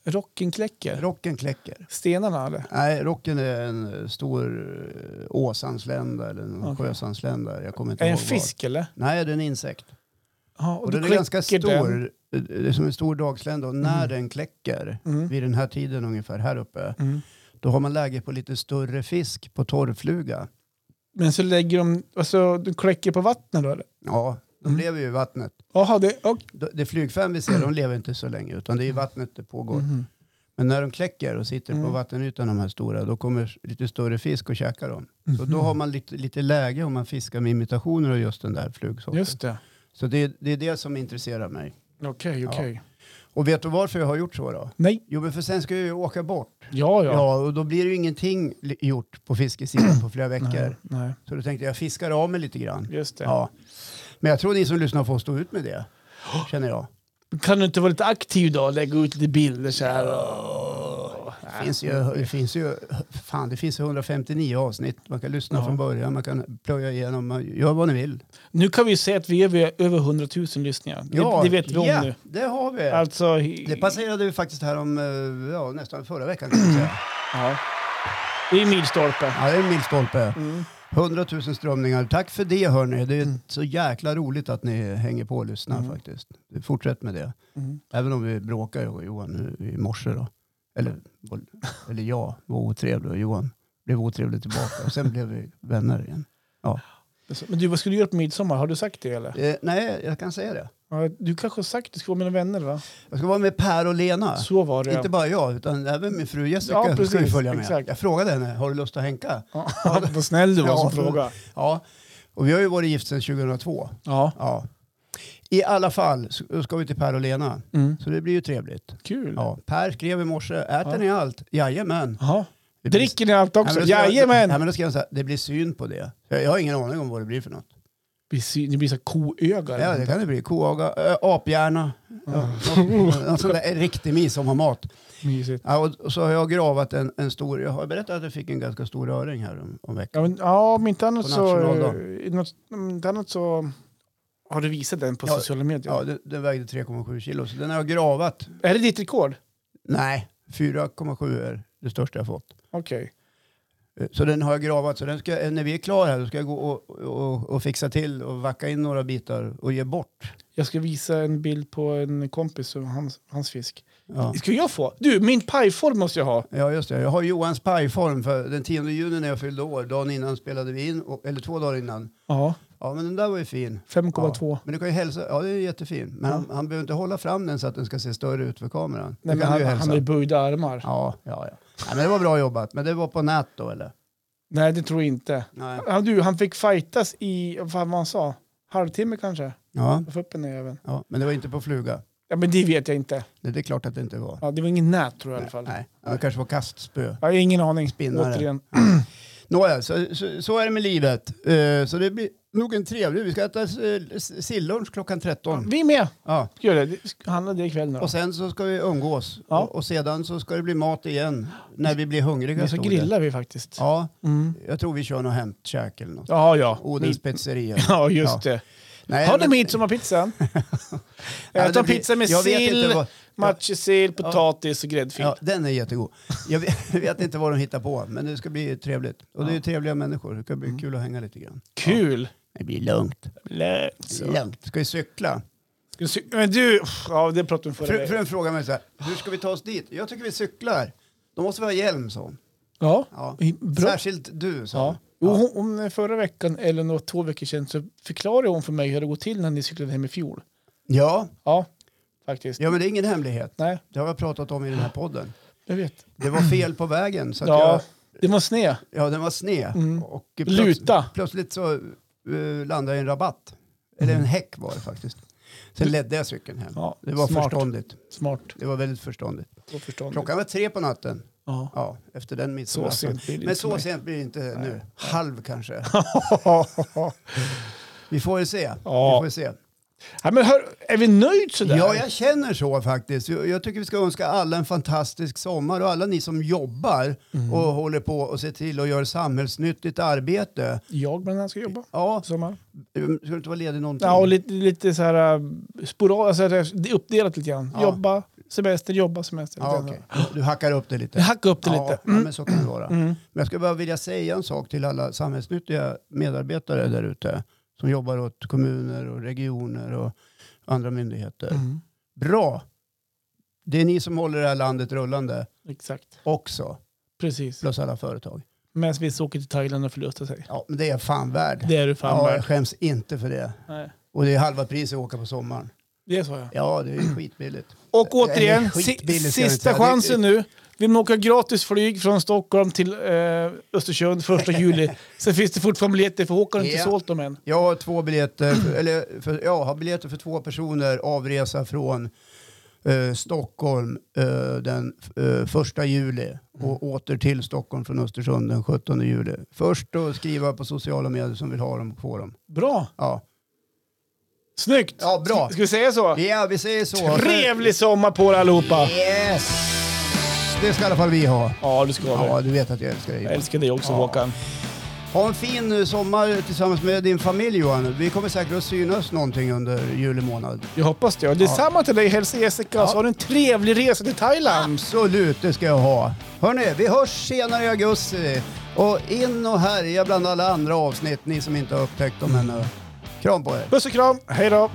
Rocken kläcker.
Rocken kläcker.
Stenarna eller?
Nej, rocken är en eh, stor eh, åsandslända eller en
Okej.
sjösandslända. Jag kommer inte
Är det en
ihåg vad.
fisk eller?
Nej, det är en insekt.
Ja, och
Och
du
den är ganska
kläcker den.
stor. eh, Det är som en stor dagslända och när den kläcker,
Mm.
vid den här tiden ungefär här uppe,
Mm.
då har man läge på lite större fisk på torrfluga.
Men så lägger de, alltså du kläcker på vattnet då eller?
Ja, de
Mm.
lever ju i vattnet.
Jaha, det... Och,
De- Det flygfän vi ser, de lever inte så länge, utan det
Mm.
är i vattnet det pågår.
Mhm.
Men när de kläcker och sitter på
Mm.
vattenytan, de här stora, då kommer lite större fisk och käkar dem. Så då
Mhm.
har man lite, lite läge om man fiskar med imitationer av just den där flugsorten.
Just det.
Så det, är- det är det som intresserar mig.
Okej, okej.
Ja. Och vet du varför jag har gjort så då?
Nej.
Jo, men för sen ska jag ju åka bort. Ja,
Ja, ja.
och då blir det ju ingenting li- gjort på fiskesidan på flera veckor.
Nej, nej,
Så då tänkte jag, fiskar av mig lite grann.
just det.
Ja. Men jag tror ni som lyssnar får stå ut med det, känner jag.
Kan du inte vara lite aktiv då? Lägga ut lite bilder så här.
Det finns ju, det finns ju, fan, det finns 159 avsnitt. Man kan lyssna
Ja.
från början, man kan plöja igenom, man gör vad ni vill.
Nu kan vi ju säga att vi är över- över 100 000 lyssningar. det, det vet vi om
ja,
nu.
det har vi.
Alltså,
Det passerade vi faktiskt här om, eh, ja, nästan förra veckan kan jag säga.
ja. Det är milstolpe.
Ja, det är en milstolpe.
Mm.
100 000 strömningar. Tack för det hörni. Det är så jäkla roligt att ni hänger på och lyssnar
Mm.
faktiskt. Fortsätt med det.
Mm.
Även om vi bråkade jag och Johan nu i morse då. Eller,
Mm.
eller jag var otrevlig och Johan blev otrevlig tillbaka. Och sen blev vi vänner igen.
Men du, vad skulle du göra på midsommar? Har du sagt det eller?
Eh, nej, jag kan säga det.
Ja, Du kanske har sagt det, ska vara med dina vänner va?
Jag ska vara med Per och Lena.
Så var det.
Inte bara jag, utan även min fru Jessica
Ja, precis,
ska ju följa med.
exakt.
Jag frågade henne, har du lust att hänka?
Ja, vad snäll du var
Ja,
som
för-
fråga.
Ja, och vi har ju varit gift sedan 2002.
Ja.
Ja. I alla fall så ska vi till Per och Lena.
Mm.
Så det blir ju trevligt.
Kul.
Ja, per skrev i morse, äter
Ja.
ni allt? Jajamän.
Jaha.
Det blir-
Dricker ni allt
Nej,
också?
men då skrev-
Jajamän!
Nej, men då skrev han så här, det blir syn på det. Jag, jag har ingen aning om vad det blir för något.
Vi ser- Det blir så här koöga.
Ja, det kan det bli. Koaga, äh, aphjärna, ja, något- någon sån där en riktig mis som har mat.
Mysigt.
Ja, och, och så har jag gravat en, en stor, jag har berättat att jag fick en ganska stor öring här om, om veckan.
Ja, men, ja om inte annat
På
så,
nationaldagen.
eh, något, om inte annat så har du visat den på
Ja,
sociala medier.
Ja, den, den vägde 3,7 kilo, så den har jag gravat.
Är det ditt rekord?
Nej, 4,7 är det största jag fått.
Okej.
Eh, Så den har jag gravat. Så den ska, eh, när vi är klara här då ska jag gå och, och, och fixa till och vacka in några bitar och ge bort.
Jag ska visa en bild på en kompis och hans, hans fisk.
Ja.
Ska jag få? Du, min pajform måste jag ha.
Ja, just det. Jag har Johans pajform för den 10 juni när jag fyllde år. Dagen innan spelade vi in, och, eller två dagar innan.
Ja,
Ja, men den där var ju fin. Ja.
5,2.
Men du kan ju hälsa. Ja, det är jättefin. Men han, han behöver inte hålla fram den så att den ska se större ut för kameran.
Nej,
du
men
kan
han,
ju
han
hälsa.
har ju böjda armar.
Ja, ja, ja. Nej, men det var bra jobbat. Men det var på nät då, eller?
Nej, det tror jag inte.
Nej.
Han, du, han fick fightas i, vad fan var han sa? Halvtimme kanske?
Ja,
Jag får upp den i öven.
ja, men det var inte på fluga.
Ja, men det vet jag inte.
Nej, det är klart att det inte var.
Ja, det var ingen nät tror jag i alla fall.
Nej, det kanske var kastspö.
Ja, Jag har ingen aning.
Spinnare.
Återigen.
Nåja, så, så, så är det med livet. Eh, så det blir nog en trevlig... Vi ska äta eh, sillunch klockan 13.
Vi är med.
Ja.
Ska göra det. Det ska handla det ikväll nu då.
Och sen så ska vi umgås.
Ja.
Och, och sedan så ska det bli mat igen när vi blir hungriga.
Men så
stod det.
grillar vi faktiskt.
Ja,
Mm.
jag tror vi kör något hämtkäk eller något.
Ja, ja.
Odens
Min-
pizzeria.
Ja, just
Ja.
det.
Nej,
Har ni
men-
midsommarpizzan?
Ja,
Äta
det blir-
pizza med
jag vet inte
sill,
vad-
matjessill,
Ja.
potatis och gräddfil.
Ja, den är jättegod. Jag vet, jag vet inte vad de hittar på, men det ska bli trevligt. Och det är ju trevliga människor. Det ska
Mm.
bli kul att hänga lite grann.
Kul!
Det blir lugnt.
Lä-
Lugnt. Ska vi cykla?
Ska du sy- Men du, ja det pratade vi om förra
Fru,
veckan.
frun frågar mig så här, hur ska vi ta oss dit? Jag tycker vi cyklar. Då måste vi ha hjälm, sa hon.
Ja,
Ja.
bra.
Särskilt du, sa
Ja.
hon.
Jo, hon- hon, förra veckan eller några två veckor sedan så förklarade hon för mig hur det går till när ni cyklade hem i fjol.
Ja.
Ja, faktiskt.
ja, men det är ingen hemlighet.
Nej,
Det har jag pratat om i den här podden.
jag vet.
Det var fel på vägen. Så att
Ja,
jag,
det var sned.
ja, den var sned. Och plöts-
Mm. Luta.
Plötsligt så eh, landade jag i en rabatt. Eller en häck var det faktiskt. Sen ledde jag cykeln hem.
Mm. Ja,
det var
smart.
förståndigt.
Smart
Det var väldigt förståndigt.
och förståndigt.
Klockan var tre på natten.
Ja.
Ja, efter den
Så
midsommarafton.
sent blir det
Men
inte
så
för mig.
sent blir det inte nu. Halv kanske. Vi får ju se.
Ja.
Vi får se.
Ja, men hör, är vi nöjd sådär?
Ja, jag känner så faktiskt. Jag jag tycker vi ska önska alla en fantastisk sommar och alla ni som jobbar
Mm.
och håller på och ser till och gör samhällsnyttigt arbete.
Jag bland annat ska jobba.
Ja,
Sommar.
Mm, Ska du inte vara ledig någonting?
Ja, och lite, lite så här sporad, alltså, det är uppdelat lite grann.
Ja.
Jobba, semester, jobba, semester.
Ja,
Lite
okej. Du hackar upp det lite.
Jag hackar upp det
Ja,
lite. Mm.
ja, men så kan det vara. Men jag skulle bara vilja säga en sak till alla samhällsnyttiga medarbetare där ute som jobbar åt kommuner och regioner och andra myndigheter.
Mm.
Bra! Det är ni som håller det här landet rullande
Exakt,
också,
precis.
plus alla företag.
Medan vissa åker till Thailand och förlustar sig.
Ja, men det är fan värd.
Det är du fan
ja,
värd.
jag skäms inte för det.
Nej,
Och det är halva priset att åka på sommaren.
Det sa jag.
Ja, det är ju skitbilligt.
Och återigen,
Nej, skitbilligt
si-
ska jag inte
sista
säga.
chansen nu. Vill man åka gratis flyg från Stockholm till eh, Östersund första juli så finns det fortfarande biljetter för Håkan har inte
Ja.
sålt dem än.
Jag har två biljetter, eller för, jag har biljetter för två personer avresa från eh, Stockholm eh, den eh, första juli och
Mm.
åter till Stockholm från Östersund den 17 juli. Först att skriva på sociala medier som vill ha dem och få dem.
Bra!
Ja,
Snyggt!
Ja, bra.
Ska vi säga så?
ja vi säger så.
Trevlig sommar på er allihopa!
Yes! Det ska i alla fall vi ha.
Ja, du ska ha
Ja,
det.
du vet att jag älskar
Jag
dig.
älskar dig också
Ja.
Håkan.
Ha en fin eh, sommar tillsammans med din familj Johan. Vi kommer säkert att synas någonting under juli månad.
Jag hoppas det. Och detsamma till dig. Hälsa Jessica så har du en trevlig resa till Thailand.
Absolut, det ska jag ha. Hörni, vi hörs senare i augusti. Och in och härja bland alla andra avsnitt, ni som inte har upptäckt dem ännu. Kram på er.
Puss och kram. Hej då.